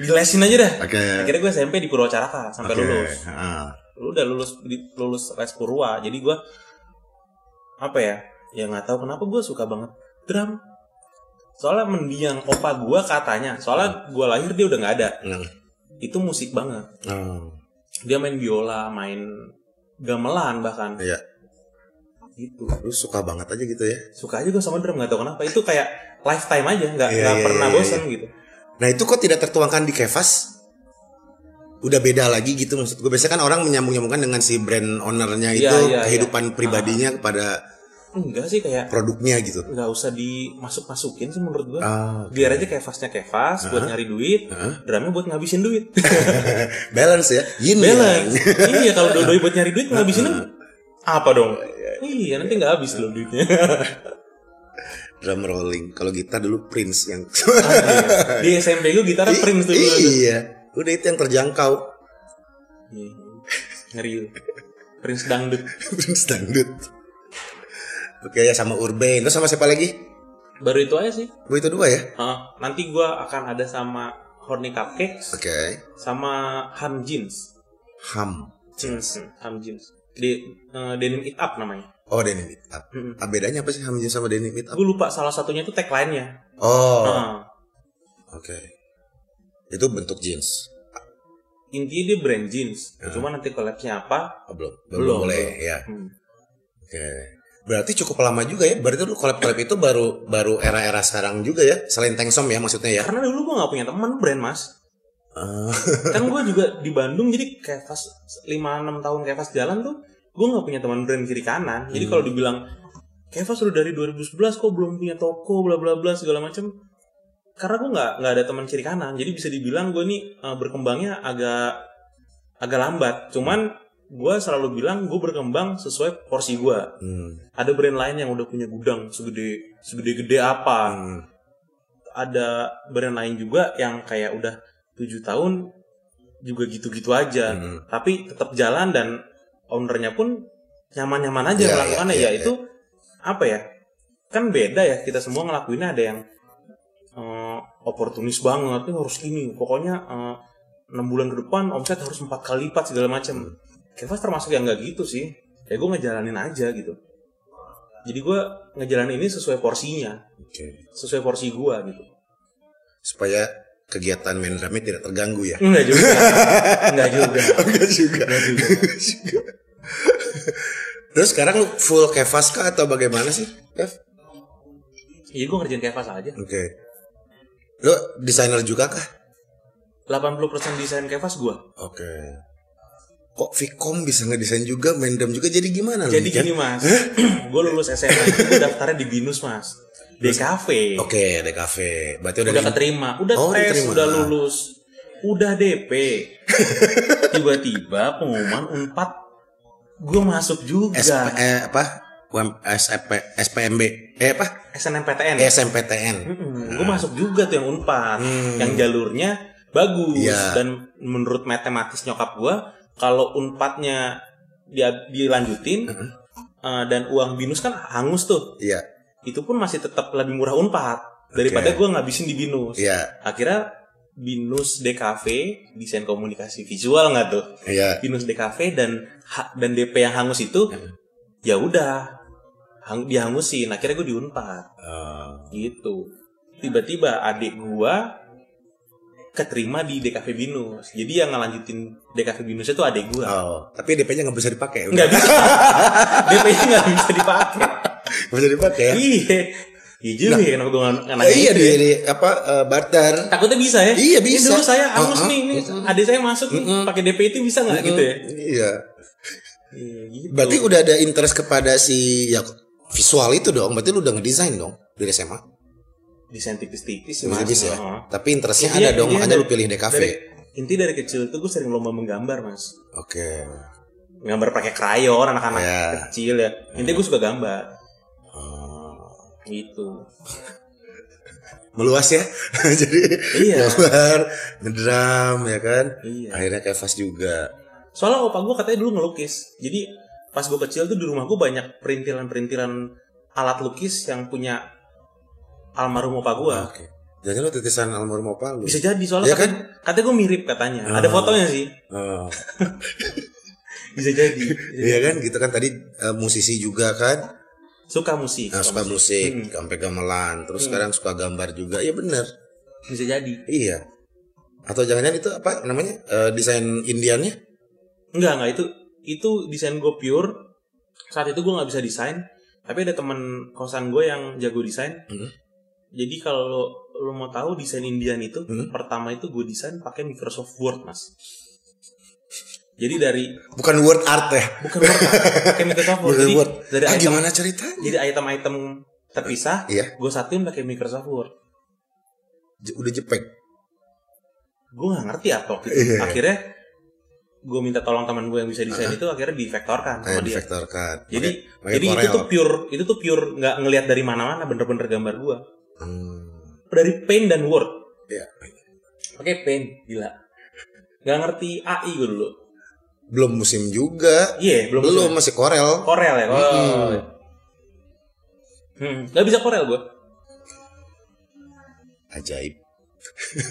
Dilesin aja dah.
oke
Akhirnya gue SMP di Purwacaraka sampai
oke
lulus.
Ah,
Lu udah lulus di- lulus Les Purwa. Jadi gue apa ya? Ya nggak tahu kenapa gue suka banget drum. Soalnya mendiang opa gue katanya. Soalnya gue lahir dia udah nggak ada.
Hmm.
Itu musik banget.
Hmm.
Dia main biola, main gamelan bahkan.
Iya.
Gitu.
lu suka banget aja gitu ya
Suka aja gue sama drum nggak tahu kenapa. Itu kayak lifetime aja. Nggak
Iya,
nggak
iya,
pernah
iya,
bosan gitu.
nah itu kok tidak tertuangkan di kevas udah beda lagi gitu maksud gue biasanya kan orang menyambung nyambungkan dengan si brand ownernya itu
Iya, iya, Ah.
kehidupan pribadinya kepada
Enggak sih kayak
produknya gitu
nggak usah dimasuk masukin sih menurut gue.
Ah,
biar aja kevasnya kevas buat nyari duit drumnya buat ngabisin duit
balance ya yin yang.
balance iya kalau doi buat nyari duit ngabisin apa dong iya nanti nggak habis loh duitnya
drum rolling kalau gitar dulu Prince yang
di SMP gue gitar Prince tuh dulu tuh.
iya udah itu yang terjangkau
Iya. ngeri lu. Prince dangdut
Prince dangdut oke ya sama Urban terus sama siapa lagi
baru itu aja sih
gue itu dua ya
Ah, nanti gue akan ada sama Horny Cupcakes
oke
sama Ham Jeans
Ham
Hmm, Ham Jeans di eh, Denim It Up namanya
oh Denim Meet Up
Mm-mm.
ah, bedanya apa sih Ham Jin sama Denim Meet Up
gue lupa salah satunya itu tagline-nya
oh oke
Ah.
itu bentuk jeans
intinya dia brand jeans cuma nanti collabnya apa
Oh, belum belum,
Belum,
boleh
belum.
ya
hmm.
oke berarti cukup lama juga ya berarti lu collab collab itu baru baru era-era sekarang juga ya selain Tengsom ya maksudnya ya
karena dulu gue nggak punya teman brand mas
Ah,
kan gue juga di Bandung jadi kayak pas 5-6 tahun kayak pas jalan tuh gue nggak punya teman brand kiri kanan jadi kalau dibilang Kevas udah dari 2011 kok belum punya toko bla bla bla segala macam karena gue nggak nggak ada teman kiri kanan jadi bisa dibilang gue nih eh, berkembangnya agak agak lambat cuman gue selalu bilang gue berkembang sesuai porsi gue
hmm,
ada brand lain yang udah punya gudang segede segede gede apa
hmm.
ada brand lain juga yang kayak udah tujuh tahun juga gitu-gitu aja
Hmm.
tapi tetap jalan dan ownernya pun nyaman-nyaman aja
Iya,
melakukannya
iya,
ya
iya,
itu apa ya kan beda ya kita semua ngelakuinnya ada yang eh, oportunis banget ini harus ini pokoknya eh, enam bulan ke depan omset harus empat kali lipat segala macam Kevas termasuk yang nggak gitu sih ya gue ngejalanin aja gitu jadi gue ngejalanin ini sesuai porsinya
Oke.
sesuai porsi gue gitu
supaya kegiatan main drumnya tidak terganggu ya?
Enggak juga. Enggak juga.
Enggak juga. Enggak juga. Terus sekarang lu full kevas kah atau bagaimana sih? Kev?
Iya gue ngerjain kevas aja.
Oke. Lu desainer juga kah?
80% desain kevas gue.
Oke. Kok Vicom bisa ngedesain juga, main drum juga, jadi gimana? lu,
Jadi
Niken?
gini mas, gue lulus SMA itu gue daftarnya di Binus mas. DKV.
Oke, DKV. Berarti udah,
Udah
di-
keterima, udah
Oh,
tes,
diterima.
udah lulus, udah DP. Tiba-tiba pengumuman unpad gue masuk juga.
SP, eh, apa? UM, SP, SPMB. Eh apa? Eh,
SNMPTN.
SMPTN.
Gue masuk juga tuh yang
Hmm.
unpad, Hmm. yang jalurnya bagus
Iya.
dan menurut matematis nyokap gue, kalau unpadnya dia dilanjutin
Hmm.
eh, dan uang binus kan hangus tuh.
Iya,
itu pun masih tetap lebih murah unpad daripada
Oke.
gua ngabisin di binus
iya,
akhirnya binus DKV desain komunikasi visual nggak tuh
iya.
binus DKV dan ha- dan DP yang hangus itu
Hmm.
ya udah hang, dihangusin akhirnya gue di unpad
Eh,
gitu tiba-tiba adik gua keterima di DKV binus jadi yang ngelanjutin DKV binus itu adik gua
oh, tapi DP-nya nggak bisa dipakai. Udah,
nggak bisa DP nya nggak bisa dipakai
nggak bisa dipakai. ya? Nah.
iya iya juga ya kenapa gue nggak nanya
Eh, iya
itu
di,
ya.
di- apa eh, barter.
Takutnya bisa ya?
Iya,
Ini
bisa. Uh-huh.
dulu saya angus
Uh-uh.
nih, ini adik saya masuk nih, pakai DP itu bisa nggak gitu ya?
Iya.
Iya, gitu.
Berarti udah ada interest kepada si ya visual itu dong. Berarti lu udah ngedesain dong dari SMA.
desain tipis-tipis sih,
Bisa
Mas.
ya.
Heeh.
Tapi interestnya
Intinya-
ada dong.
intinya
Makanya lu
Iya, dari-
pilih DKV.
dari- inti dari kecil itu gue sering lomba menggambar mas,
Oke.
gambar pakai krayon anak-anak
Ya.
kecil ya. Intinya gue suka gambar
Hmm.
gitu.
Meluas ya. Jadi
Iya.
gambar, ngedram ya kan.
Iya.
Akhirnya kevas juga.
Soalnya opa gue katanya dulu ngelukis, jadi pas gue kecil tuh di rumah gue banyak perintilan-perintilan alat lukis yang punya almarhum opa gue.
Oke. Jadi lu titisan almarhum opa lu.
Bisa jadi soalnya
Iya kan?
katanya, katanya gue mirip katanya. Ada
Ah.
fotonya sih.
Oh.
Bisa jadi.
Iya kan gitu kan tadi eh, musisi juga kan.
Suka musik.
Nah, suka musik,
Hmm.
sampai gamelan, terus sekarang suka gambar juga. Iya bener.
Bisa jadi.
Iya. Atau jangan-jangan itu apa namanya? Eh, desain Indiannya?
Enggak, enggak itu itu desain gue pure. Saat itu gue nggak bisa desain, tapi ada teman kosan gue yang jago desain.
Hmm.
Jadi kalau lo mau tahu desain Indian itu,
Hmm.
pertama itu gue desain pakai Microsoft Word, Mas. Jadi dari
Bukan word art ya.
bukan Word, Mas. pakai Microsoft Word.
Bukan
Jadi
word.
dari
Ah,
item,
gimana ceritanya?
jadi item-item terpisah,
Iya.
gue satuin pakai Microsoft Word.
J- udah jepek.
gue nggak ngerti apa waktu itu.
Iya.
akhirnya gue minta tolong teman gue yang bisa desain itu akhirnya divektorkan sama
Kayak
dia
Nah, difaktorkan.
jadi
Pakai-
jadi
pakai
itu tuh
Corel.
pure itu tuh pure nggak ngelihat dari mana-mana bener-bener gambar gue
Hmm.
dari paint dan word
Iya.
pakai paint gila nggak ngerti AI gue dulu
Belum musim juga.
iya belum
Belum, masih Corel.
Corel ya oh. Hmm, nggak bisa Corel gue
Ajaib.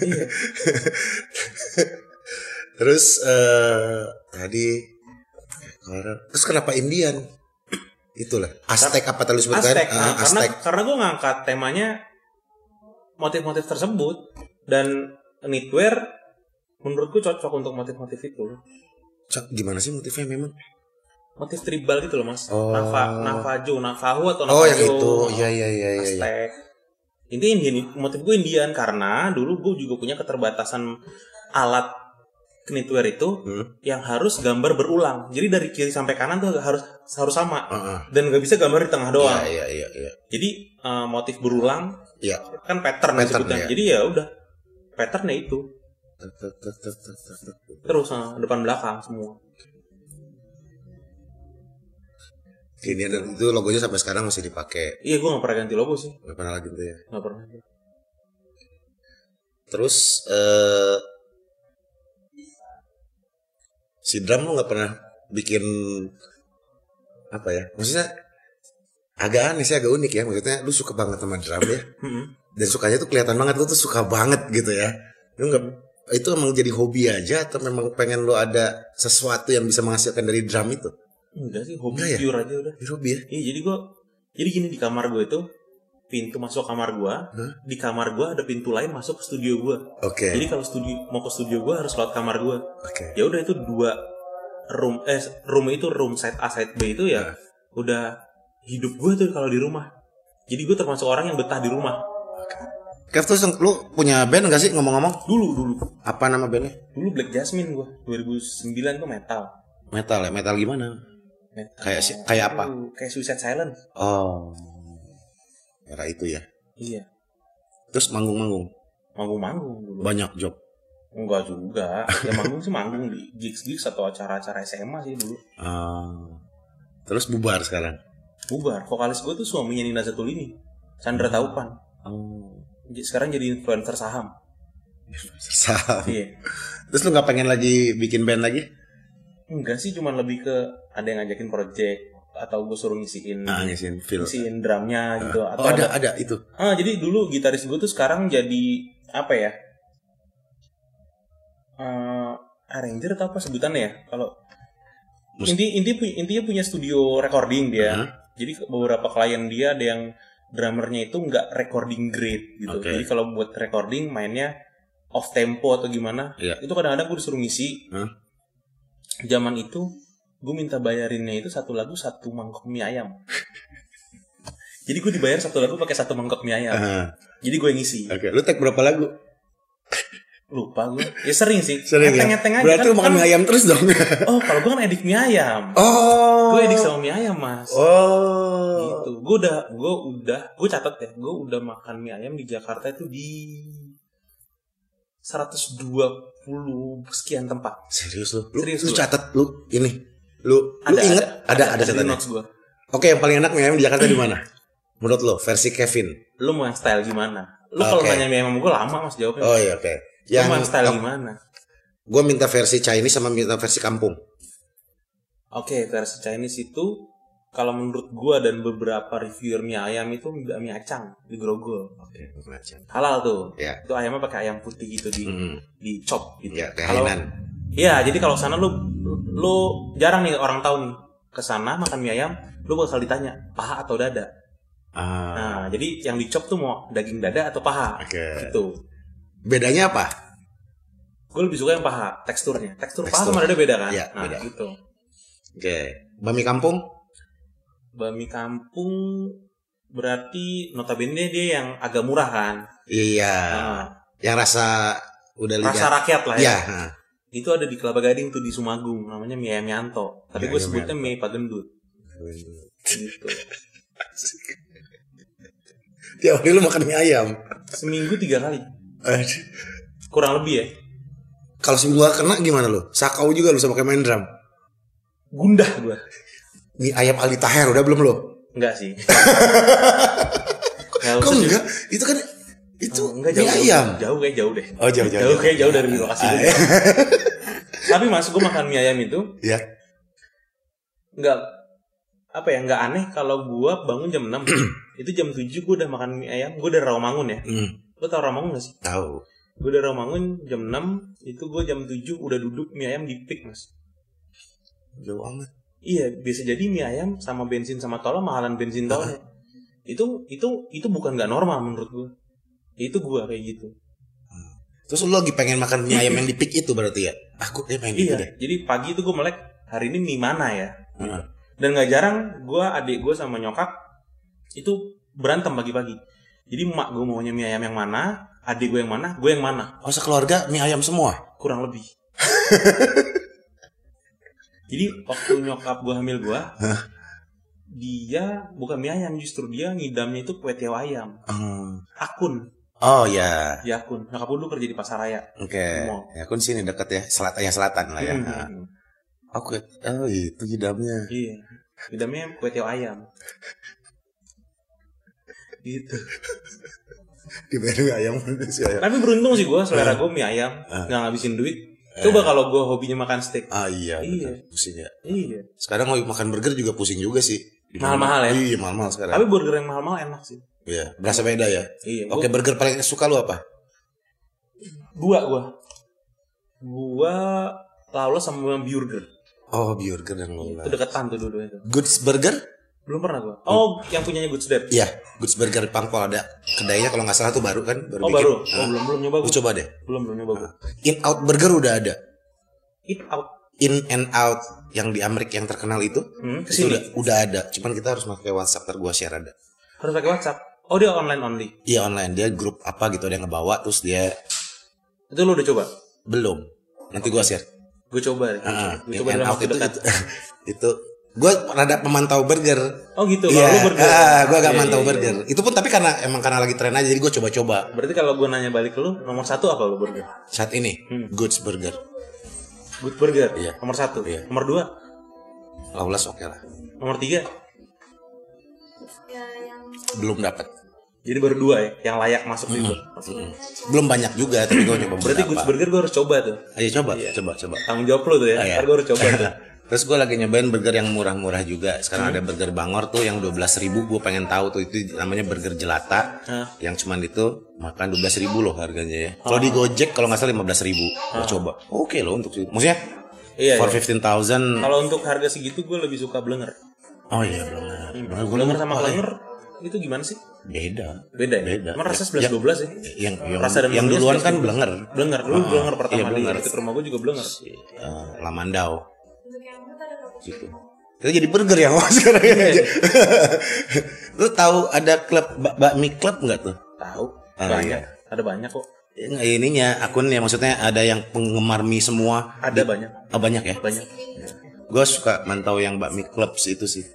Iya.
Terus eh tadi Corel. Terus kenapa Indian? Itulah. Aztec apa tadi lu sebutkan?
Aztec,
Ah,
nah, karena
Aztec.
karena gue ngangkat temanya motif-motif tersebut dan knitwear menurutku cocok untuk motif-motif itu
Cak, gimana sih motifnya memang?
motif tribal gitu loh mas
Oh.
Nava, Navajo, Navajo atau Navajo
Oh, yang itu. Iya iya iya iya. iya.
Aztec ini Indian, motif gue Indian karena dulu gue juga punya keterbatasan alat knitwear itu
Hmm.
yang harus gambar berulang jadi dari kiri sampai kanan tuh harus harus sama
Ah, ah.
dan nggak bisa gambar di tengah doang
Iya iya iya iya.
jadi eh, motif berulang
Iya.
kan pattern,
Pattern,
disebutnya
ya.
jadi ya udah patternnya itu
Tek, tek, tek, tek, tek, tek, tek.
terus eh, depan belakang semua
Ini ada itu logonya sampai sekarang masih dipakai.
iya gue nggak pernah ganti logo sih
Gak pernah lagi gitu ya.
nggak pernah
Terus eh si drum lu nggak pernah bikin apa ya? Maksudnya agak aneh sih, agak unik ya. Maksudnya lu suka banget sama drum ya,
Mm-mm.
dan sukanya tuh kelihatan banget lu tuh suka banget gitu ya. Lu nggak itu emang jadi hobi aja atau memang pengen lu ada sesuatu yang bisa menghasilkan dari drum itu?
enggak sih hobi
Enggak ya?
pure aja udah
Ini hobi ya?
Iya jadi gue jadi gini di kamar gue itu pintu masuk kamar gua di kamar gua ada pintu lain masuk ke studio gua
Oke.
jadi kalau studio mau ke studio gua harus lewat kamar gua
Oke.
ya udah itu dua room eh room itu room side A side B itu ya
Iya.
udah hidup gua tuh kalau di rumah jadi gue termasuk orang yang betah di rumah
Kev terus lu punya band gak sih ngomong-ngomong?
dulu dulu
Apa nama bandnya?
dulu Black Jasmine gua 2009 tuh metal
Metal ya, metal gimana?
metal
Kayak si- kayak apa?
Aduh, kayak Suicide Silence
Oh. Era itu ya.
iya
Terus manggung-manggung.
manggung-manggung dulu
Banyak job.
Enggak juga. Ya manggung sih manggung di gigs-gigs atau acara-acara SMA sih dulu.
Ah. terus bubar sekarang.
Bubar. Vokalis gue tuh suaminya Nina Zatulini. Sandra Taupan.
Oh.
J- Sekarang jadi influencer saham.
Saham.
Iya.
Terus lu nggak pengen lagi bikin band lagi?
Enggak sih, cuman lebih ke ada yang ngajakin project atau gue suruh ngisiin
Nah, ngisiin feel.
ngisiin drumnya gitu Hmm. atau
Oh ada ada itu.
Ah, jadi dulu gitaris gue tuh sekarang jadi apa ya? Eh, arranger atau apa sebutannya ya? Kalau
Mus-
inti inti pu- intinya punya studio recording dia.
Aha.
Jadi beberapa klien dia ada yang drummernya itu nggak recording grade gitu.
Oke.
Jadi kalau buat recording mainnya off tempo atau gimana,
Iya.
itu kadang-kadang gue disuruh ngisi.
Hah?
Zaman itu gue minta bayarinnya itu satu lagu satu mangkok mie ayam. Jadi gue dibayar satu lagu pakai satu mangkok mie ayam.
Ah,
Jadi gue yang ngisi.
Oke, lu tag berapa lagu?
Lupa gue. Ya sering sih.
Sering ya?
Ngeteng-ngeteng aja. kan,
Berarti lu makan mie
kan-
ayam terus dong.
Oh, kalau gue kan edik mie ayam.
oh.
Gue edik sama mie ayam, Mas.
Oh.
Gitu. Gue udah, gue udah, gue catat ya. Gue udah makan mie ayam di Jakarta itu di 120 sekian tempat.
Serius lu? Lu,
Serius
lu
gua.
catat lu ini. Lu lu inget ada ada,
di
catatannya.
notes gue.
Oke, yang paling enak mie ayam di Jakarta di mana? Menurut lo versi Kevin.
Lu mau yang style gimana? Lu kalau
Oke.
nanya mie ayam gue lama mas jawabnya.
Oh iya oke.
Lu mau yang
Yang
style gimana?
gue minta versi Chinese sama minta versi kampung.
Oke, versi Chinese itu kalau menurut gua dan beberapa reviewer mie ayam itu nggak mie acang di Grogol.
Oke,
Halal tuh.
Ya.
Itu ayamnya pakai ayam putih gitu di
Mm.
di chop gitu.
Ya, kayak
Kalau-
Hainan.
Iya, jadi kalau sana lu lu jarang nih orang tahu nih ke sana makan mie ayam, lu bakal ditanya paha atau dada.
Ah,
Nah, jadi yang di chop tuh mau daging dada atau paha.
Oke.
Gitu.
Bedanya apa?
Gue lebih suka yang paha, teksturnya. Tekstur, paha
Tekstur.
sama dada beda kan?
Iya,
nah,
beda.
gitu.
Oke. Bami kampung?
Bami kampung berarti notabene dia yang agak murah kan?
Iya.
Nah,
Yang rasa udah lidah.
rasa rakyat lah ya.
Iya. ah.
Itu ada di Kelapa Gading tuh di Sumagung, namanya Mie Ayam Yanto. Tapi
Iya, Mie
gue
Ayam
sebutnya Mie Pagendut. Gitu.
Tiap hari lu makan mie ayam.
Seminggu tiga kali,
Aduh.
kurang lebih ya.
Kalau seminggu gak kena gimana lu? Sakau juga lu sama kayak main drum.
Gundah gue.
Mie ayam Ali Taher udah belum lo?
Enggak sih.
Kok enggak? Itu kan itu
Oh, enggak
mie
jauh, jauh,
ayam.
jauh kayak jauh deh.
Oh, Ah, iya. jauh, jauh,
Jauh
jauh.
kayak jauh dari lokasi. gua. Tapi mas, gue makan mie ayam itu
Ya.
nggak apa ya nggak aneh kalau gua bangun jam 6 itu jam 7 gua udah makan mie ayam gua dari Rawamangun ya
Hmm,
lo tau Rawamangun gak sih
tahu.
gua dari Rawamangun jam 6 itu gua jam 7 udah duduk mie ayam di pik mas
Jauh amat.
iya biasa jadi mie ayam sama bensin sama tolnya mahalan bensin tolnya itu itu itu bukan nggak normal menurut gua itu gua kayak gitu
Terus lu lagi pengen makan mie ayam yang di pik itu berarti ya? Aku kayak pengen gitu
iya
deh.
jadi pagi itu gua melek hari ini mie mana ya
Heeh.
dan nggak jarang gua adik gua sama nyokap itu berantem pagi-pagi jadi emak gue maunya mie ayam yang mana adik gue yang mana gue yang mana
Oh sekeluarga mie ayam semua?
kurang lebih jadi waktu nyokap gue hamil gua dia bukan mie ayam justru dia ngidamnya itu kue tiaw ayam
Hmm.
akun
Oh ya,
ya akun nyokap gue dulu kerja di pasar raya
oke.
Mall.
Ya kan sini dekat ya, selatan ya selatan lah ya. Nah,
Hmm,
Oke, oh itu hidamnya.
iya ngidamnya kue tiaw ayam gitu
Di menu ayam si ayam.
Tapi beruntung sih gue selera gue mie ayam
Ah.
nggak ngabisin duit.
Eh.
Coba kalau gue hobinya makan steak.
Ah iya,
Iya.
betul. pusing ya.
Iya.
Sekarang mau makan burger juga pusing juga sih.
Mahal-mahal ya?
Iya mahal-mahal sekarang.
Tapi burger yang mahal-mahal enak sih.
Iya, berasa beda ya.
Iya.
Oke,
Oke.
burger paling suka lu apa?
Dua gue. Gue Lawless sama burger.
Oh, burger dan
Itu
lola.
deketan tuh dua-duanya. tuh.
Goods burger?
Belum pernah gua. Oh, yang punyanya Good Dad.
Iya, Goods Hmm. Burger Pangpol ada kedainya kalau nggak salah tuh baru kan, baru
Oh,
bikin.
baru.
Nah,
Oh, belum belum nyoba
lu
gua.
coba Ah. deh.
Belum belum nyoba gua.
In Out Burger udah ada.
Eat out.
In and Out yang di Amerika yang terkenal itu,
Hmm, kesini.
itu udah, udah ada. Cuman kita harus pakai WhatsApp ntar gua share ada.
Harus pakai WhatsApp. Oh, dia online only.
Iya online dia grup apa gitu ada yang ngebawa terus dia
Itu lu udah coba?
belum. Nanti gua share.
Gue coba deh.
Heeh.
Gue coba
In
dalam
and ah. Out
waktu
itu,
dekat.
itu, itu gue rada pemantau burger.
Oh gitu,
Iya,
kalau lu burger.
ah, gue agak
Iya,
mantau
iya, iya.
burger. Itu pun tapi karena emang karena lagi tren aja, jadi gue coba-coba
Berarti kalau gue nanya balik ke lu, nomor satu apa lu burger?
saat ini.
Hmm.
Goods burger,
Good burger.
Iya.
Nomor satu.
Iya.
Nomor dua.
Lawless oke lah,
Nomor tiga.
belum dapat,
Jadi baru dua ya, yang layak masuk
Hmm.
di
Iya,
burger.
belum banyak juga, tapi gue coba
Berarti
beberapa.
Good burger Iya. gue harus coba tuh.
Ayo coba, coba, coba.
Tanggung jawab lu tuh ya.
Ah, iya.
Ntar gue harus coba tuh.
Terus gue lagi nyobain burger yang murah-murah juga.
Hmm.
Sekarang ada burger Bangor tuh yang 12.000 ribu. Gue pengen tahu tuh itu namanya burger jelata.
Hah.
Yang cuman itu makan 12.000 ribu loh harganya ya. Kalau di Gojek kalau nggak salah 15.000 ribu. Gue coba. Oke loh untuk maksudnya
Iya.
for
iya.
15.000.
Kalau untuk harga segitu gue lebih suka blenger.
Oh iya benar. Benar, gua
Blenger sama
lupa.
klenger itu gimana sih?
beda.
Beda ya.
Oh, iya. Beda.
Emang rasa 11
Ya,
12 ya.
Yang yang,
Rasa dan
yang
manis
duluan
pasti.
kan blenger.
Blenger, lu
Ah,
blenger
iya,
pertama di
blenger.
dekat rumah gue juga blenger.
Eh, Lamandau. Gitu. Kita jadi burger ya Mas, sekarang
Iya,
aja. Lu tahu ada klub bak- bakmi klub nggak tuh?
Tahu?
Ah,
banyak.
iya.
Ada banyak kok.
Ya, ininya akunnya maksudnya ada yang penggemar mie semua
Ada banyak.
Ah, banyak ya
Banyak.
gue suka mantau yang bakmi clubs itu sih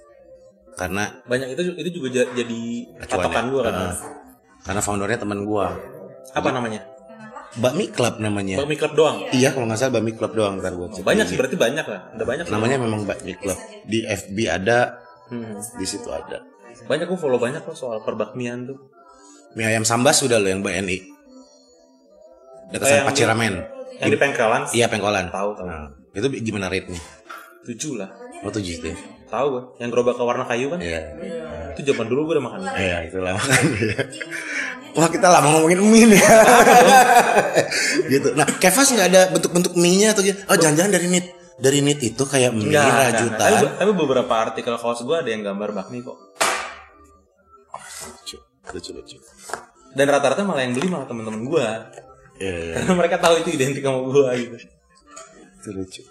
karena
Banyak itu itu juga ja- jadi
acuannya. Ah.
patokan gue kan.
Heeh. karena foundernya teman gue
Apa namanya?
bakmi club namanya
Bakmi club doang.
iya kalau nggak salah bakmi club doang ntar gue cek
Banyak
lagi.
sih berarti banyak lah. Ada banyak. sih.
namanya memang bakmi club di FB ada
Hmm.
di situ ada
Banyak gue follow banyak kok soal perbakmian tuh.
mie ayam sambas sudah lo yang BNI
Oh,
dekat
yang
sama
di-
Paciramen
Yang di pengkelan
iya pengkolan
Tahu, tahu.
Nah, itu gimana rate nih
tujuh lah.
oh tujuh itu ya?
Tahu gue. Yang gerobak ke warna kayu kan?
iya
Itu zaman dulu gue udah makan.
Iya itulah Wah kita lama ngomongin mie nih gitu. Nah Kevas nggak ada bentuk-bentuk mie-nya atau gitu? Oh jangan-jangan dari nit dari nit itu kayak mie
Enggak, enggak, enggak.
rajutan.
Tapi, tapi beberapa artikel kaos gue ada yang gambar bakmi kok.
Lucu, lucu, lucu.
Dan rata-rata malah yang beli malah teman-teman gue.
Iya,
Karena mereka tahu itu identik sama gue gitu.
itu lucu.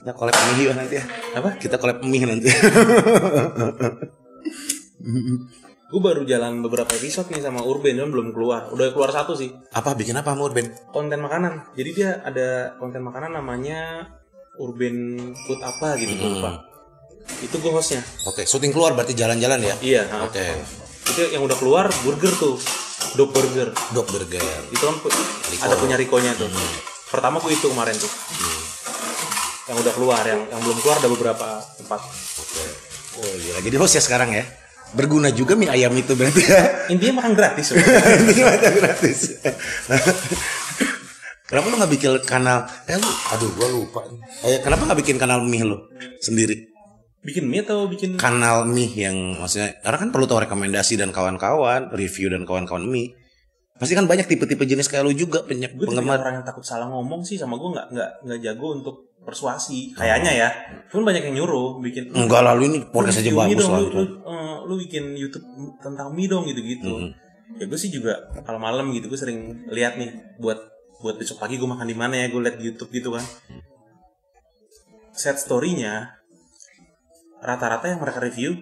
Kita collab mie yuk nanti ya.
Apa?
Kita collab mie nanti.
Gue baru jalan beberapa episode nih sama Urban, cuman belum keluar. Udah keluar satu sih.
apa bikin apa mau Ben?
Konten makanan. Jadi dia ada konten makanan namanya Urban Food apa gitu. gue lupa. Itu gue hostnya.
Oke, syuting keluar berarti jalan-jalan ya.
Iya. ha.
Oke,
Itu yang udah keluar burger tuh. Dog burger.
dok burger.
itu kan pu- ada punya Rico-nya tuh.
Hmm.
Pertama gue itu kemarin tuh. Yang udah keluar, yang yang belum keluar ada beberapa tempat.
Oh iya, jadi host ya sekarang ya. Berguna juga mie ayam itu berarti ya.
Intinya makan gratis. loh.
Ini mata gratis. kenapa lu nggak bikin kanal? Eh lu, aduh gua lupa. Eh, kenapa nggak bikin kanal mie lu sendiri?
bikin mie atau bikin
Kanal mie yang maksudnya, karena kan perlu tahu rekomendasi dan kawan-kawan, review dan kawan-kawan mie. Pasti kan banyak tipe-tipe jenis kayak lu juga penye-
gue tipe
penggemar.
orang yang takut salah ngomong sih sama gue nggak nggak nggak jago untuk persuasi
Hmm.
kayaknya ya pun banyak yang nyuruh bikin
Enggak lalu ini Hmm. podcast aja
Lu bikin mie
bagus
dong,
lah. gitu.
lu, lu, eh, lu bikin YouTube tentang mie dong gitu-gitu
Hmm.
ya gue sih juga kalau malam gitu gue sering lihat nih buat buat besok pagi gue makan di mana ya gue lihat di YouTube gitu kan set story-nya rata-rata yang mereka review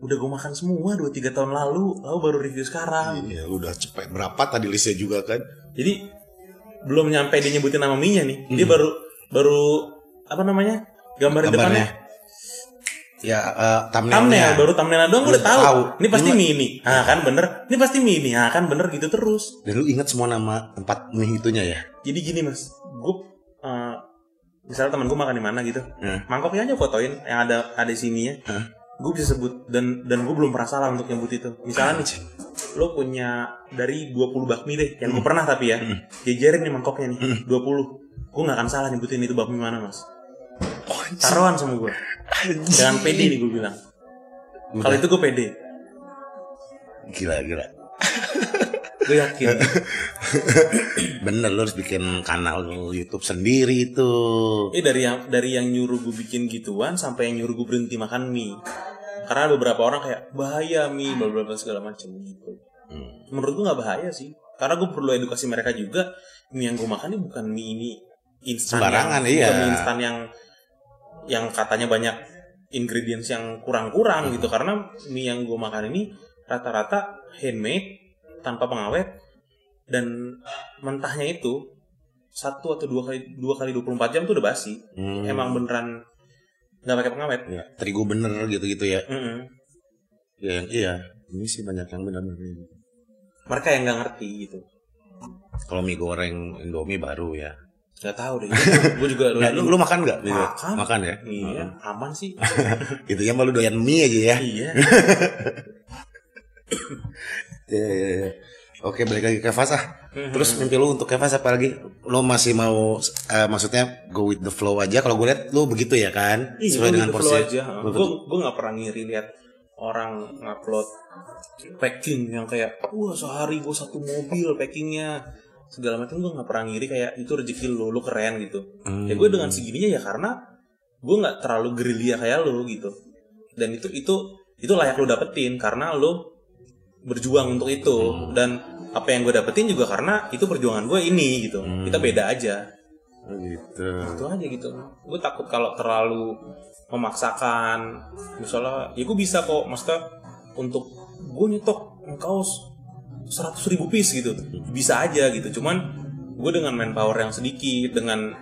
udah gue makan semua 2-3 tahun lalu lalu baru review sekarang
Iya, lu udah cepet berapa tadi listnya juga kan?
jadi belum nyampe dia nyebutin nama mie-nya nih dia baru baru apa namanya gambar di depannya
Gambarnya. Ya, eh,
thumbnail
thumbnailnya.
baru thumbnail doang gue udah
Udah
tahu.
tahu.
Ini pasti
Ini mah-
mie ini. Ah kan bener. Ini pasti mie ini. Ah kan bener gitu terus.
Dan lu ingat semua nama tempat mie itunya ya?
Jadi gini mas, gue eh, misalnya teman gue makan di mana gitu,
Hmm.
mangkoknya aja fotoin yang ada ada sininya.
Hmm.
Gue bisa sebut dan dan gue belum pernah salah untuk nyebut itu. Misalnya nih, lo punya dari 20 bakmi deh, yang gue pernah tapi ya, jejerin nih mangkoknya nih, 20. Gue nggak akan salah nyebutin itu bakmi mana mas. Taruhan sama gue. Jangan pede nih gue bilang. Kalau itu gue pede.
Gila, gila.
gue yakin
Bener lu harus bikin kanal YouTube sendiri itu.
ini Eh, dari yang dari yang nyuruh gue bikin gituan sampai yang nyuruh gue berhenti makan mie karena ada beberapa orang kayak bahaya mie bla bla bla segala macam gitu menurut gue nggak bahaya sih karena gue perlu edukasi mereka juga mie yang gue makan ini bukan mie ini instan
Sembarangan,
yang,
iya.
bukan mie instan yang yang katanya banyak ingredients yang kurang-kurang gitu karena mie yang gue makan ini rata-rata handmade tanpa pengawet dan mentahnya itu satu atau dua kali dua kali 24 jam tuh udah basi
Hmm.
emang beneran nggak pakai pengawet
Ya, terigu bener gitu-gitu ya.
Mm-mm.
Ya, yang iya. Ini sih banyak yang bener-bener gitu.
mereka yang nggak ngerti gitu
Kalau mie goreng Indomie baru ya.
nggak tahu deh gue juga
Nah, lu, lu makan nggak? Gitu?
Makan.
Makan ya.
iya aman sih
Gitu ya, malu doyan mie aja ya.
iya
Iya, iya, iya. Oke, balik lagi ke Fas ah.
Mm-hmm.
Terus mimpi lu untuk Kevas apa lagi? Lu masih mau eh, maksudnya go with the flow aja kalau gue lihat lu begitu ya kan?
Iya,
Sesuai
gua
dengan
gitu
porsi.
flow aja.
Lu
Gue gue nggak pernah ngiri lihat orang ngupload packing yang kayak wah sehari gue satu mobil packingnya segala macam gue nggak pernah ngiri kayak itu rezeki lu lu keren gitu
Hmm.
ya gue dengan segininya ya karena gue nggak terlalu gerilya kayak lu gitu dan itu itu itu layak lu dapetin karena lu berjuang untuk itu dan apa yang gue dapetin juga karena itu perjuangan gue ini gitu kita beda aja
Oh, gitu.
itu aja gitu gue takut kalau terlalu memaksakan misalnya ya gue bisa kok maksudnya untuk gue nyetok kaos 100.000 ribu piece gitu bisa aja gitu cuman gue dengan manpower yang sedikit dengan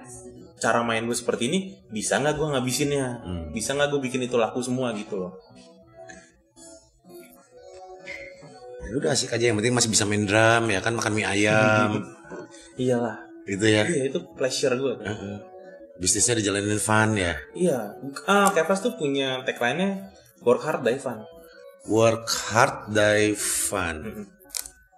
cara main gue seperti ini bisa nggak gue ngabisinnya bisa nggak gue bikin itu laku semua gitu loh
Ya udah asik aja yang penting masih bisa main drum ya kan makan mie ayam
iyalah
gitu ya.
iya itu pleasure gue kan.
Bisnisnya dijalanin fun ya.
iya ah Kevas tuh punya tagline-nya work hard die fun
Work hard die
Hmm.
fun.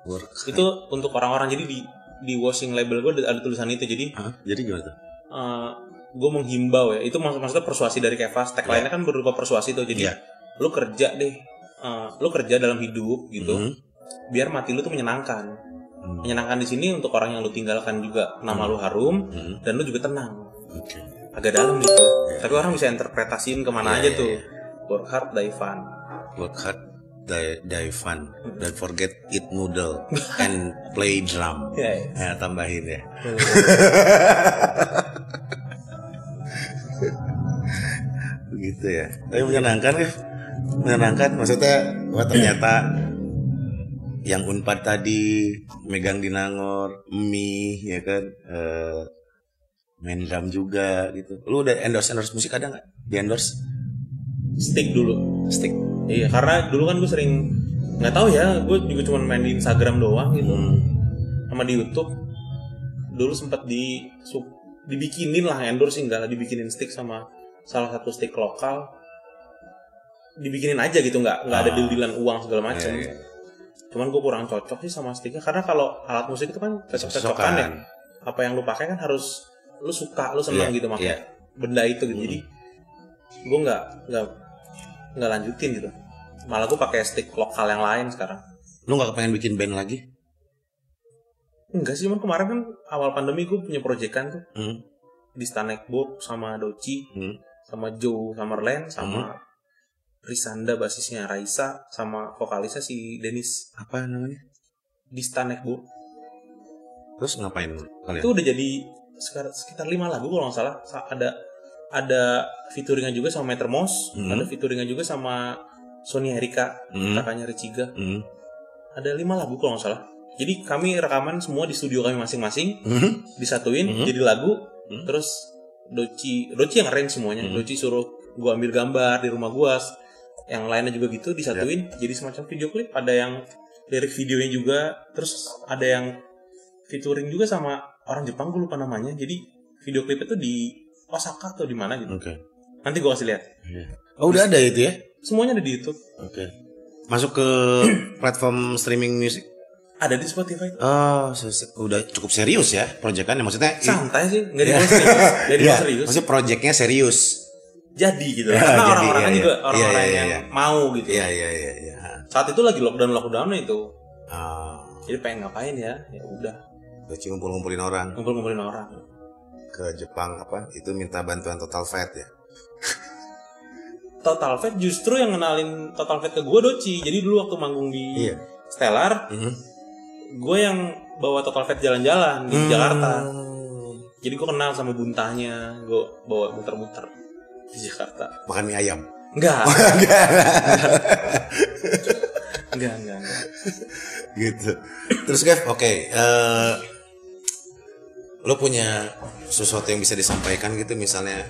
Work.
itu untuk orang-orang jadi di di washing label gue ada, ada tulisan itu jadi
Hah? Jadi gimana tuh?
gue menghimbau ya itu mak- maksudnya persuasi dari Kevas tagline nya
Ya.
kan berupa persuasi tuh jadi
Iya.
lu kerja deh eh, lu kerja dalam hidup gitu Iya.
Hmm.
biar mati lu tuh menyenangkan
Hmm.
menyenangkan di sini untuk orang yang lu tinggalkan juga nama lu harum
Hmm.
dan lu juga tenang
Oke.
agak dalam gitu
Ya.
tapi orang bisa interpretasiin kemana
Iya,
aja
iya,
tuh
iya.
work hard die fun
Work hard die, die fun. Don't forget eat noodle and play drum.
Iya, iya.
Ya, tambahin ya. Begitu ya. Tapi menyenangkan ya. Menyenangkan maksudnya wah ternyata yang Unpad tadi megang di Nangor, mie ya kan eh main drum juga gitu. Lu udah endorse endorse musik ada nggak? Di endorse
stick dulu
stick.
iya karena dulu kan gue sering nggak tahu ya gue juga cuma main di Instagram doang gitu
Hmm.
sama di YouTube dulu sempat di su- dibikinin lah endorse enggak lah dibikinin stick sama salah satu stick lokal dibikinin aja gitu nggak nggak ada
Ah.
deal-dealan uang segala macam
Iya, iya.
cuman gue kurang cocok sih sama sticknya karena kalau alat musik itu kan cocok-cocokan ya apa yang lu pakai kan harus lu suka lu senang
Iya,
gitu pakai
iya.
benda itu gitu jadi gue nggak nggak nggak lanjutin gitu malah gue pakai stick lokal yang lain sekarang
Lu nggak kepengen bikin band lagi?
enggak sih cuman kemarin kan awal pandemi gue punya proyekan tuh
Hmm.
di Stanekbo sama Doci
Hmm.
sama Joe Summerland sama Risanda basisnya Raisa sama vokalisnya si Dennis
Apa namanya?
di Stanekbo
Terus ngapain kalian?
itu udah jadi sekar- sekitar lima lagu kalau nggak salah Sa- ada ada featuringnya juga sama Meter Mouse
Hmm.
ada featuringnya juga sama Sony Erika
Hmm.
kakaknya Reciga
Hmm.
ada lima lagu kalau nggak salah jadi kami rekaman semua di studio kami masing-masing
Hmm.
disatuin
Mhm.
jadi lagu
Mhm.
terus Doci Doci yang arrange semuanya
Mhm.
Doci suruh gua ambil gambar di rumah gua yang lainnya juga gitu disatuin
Ya.
jadi semacam video klip ada yang lirik videonya juga terus ada yang featuring juga sama orang Jepang gue lupa namanya jadi video klip itu di Osaka atau di mana gitu
Oke.
nanti gua kasih lihat
Oh udah ada itu ya?
semuanya ada di YouTube
Oke. Masuk ke platform streaming music.
ada di Spotify
Oh, se- se- udah cukup serius ya proyekannya maksudnya. i-
santai sih nggak dibawa serius nggak dibawa
Iya,
serius
Maksudnya proyeknya serius.
jadi gitu karena
Ya, jadi,
orang-orang
iya,
juga
iya.
orang-orang
Iya, iya,
yang
iya.
mau gitu
Iya iya iya. iya.
saat itu lagi lockdown lockdownnya itu
Ah.
jadi pengen ngapain ya ya udah
Lucu ngumpul-ngumpulin orang
ngumpul-ngumpulin orang
ke Jepang apa itu minta bantuan Total Fat ya.
Total Fat justru yang ngenalin Total Fat ke gue Doci jadi dulu waktu manggung di
Iya.
Stellar
Mhm.
gue yang bawa Total Fat jalan-jalan di
Hmm.
Jakarta jadi gue kenal sama buntahnya gue bawa muter-muter di Jakarta
Makan mie ayam.
enggak
Oh,
enggak enggak enggak
gitu. Terus Kev, oke. eh, lo punya sesuatu yang bisa disampaikan gitu misalnya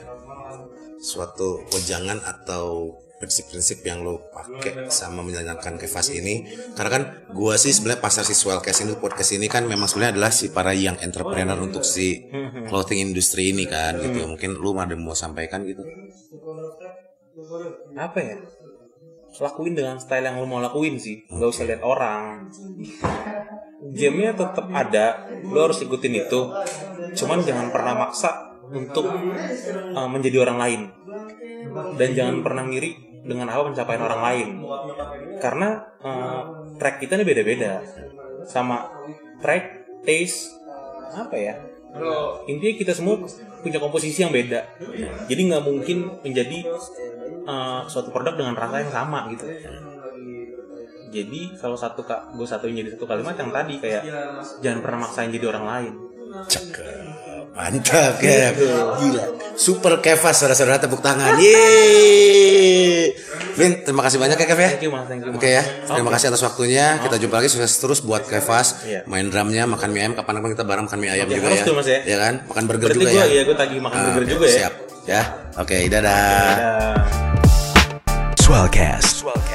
suatu wejangan atau prinsip-prinsip yang lo pakai sama menjalankan kefas ini karena kan gua sih sebenarnya pasar siswa kes ini podcast ini kan memang sebenarnya adalah si para yang entrepreneur untuk si clothing industry ini kan gitu mungkin lu ada mau sampaikan gitu
apa ya lakuin dengan style yang lo mau lakuin sih nggak usah lihat orang gamenya tetap ada lo harus ikutin itu cuman jangan pernah maksa untuk uh, menjadi orang lain dan jangan pernah ngiri dengan apa pencapaian orang lain karena uh, track kita ini beda-beda sama track taste apa ya intinya kita semua punya komposisi yang beda jadi nggak mungkin menjadi eh, suatu produk dengan rasa yang sama gitu jadi kalau satu kak gue satuin jadi satu kalimat yang tadi kayak jangan pernah maksain jadi orang lain
Cakep. Mantap,
Iya,
Kev. Gila. Super Kevas, saudara-saudara tepuk tangan. Yeay. Vin, terima kasih banyak ya, Kev ya.
thank you mas thank you Mas.
Oke ya, terima kasih atas waktunya. Kita jumpa lagi sukses terus buat Kevas.
Iya.
Main drumnya, makan mie ayam. Kapan-kapan kita bareng makan mie ayam
Oke,
juga
harus
ya.
tuh, Mas, ya.
Iya kan? Makan burger
berarti
juga
gue
ya.
ya gue tadi makan burger
Oke,
juga ya
Siap. Ya. Oke, dadah.
Dadah.
Swellcast.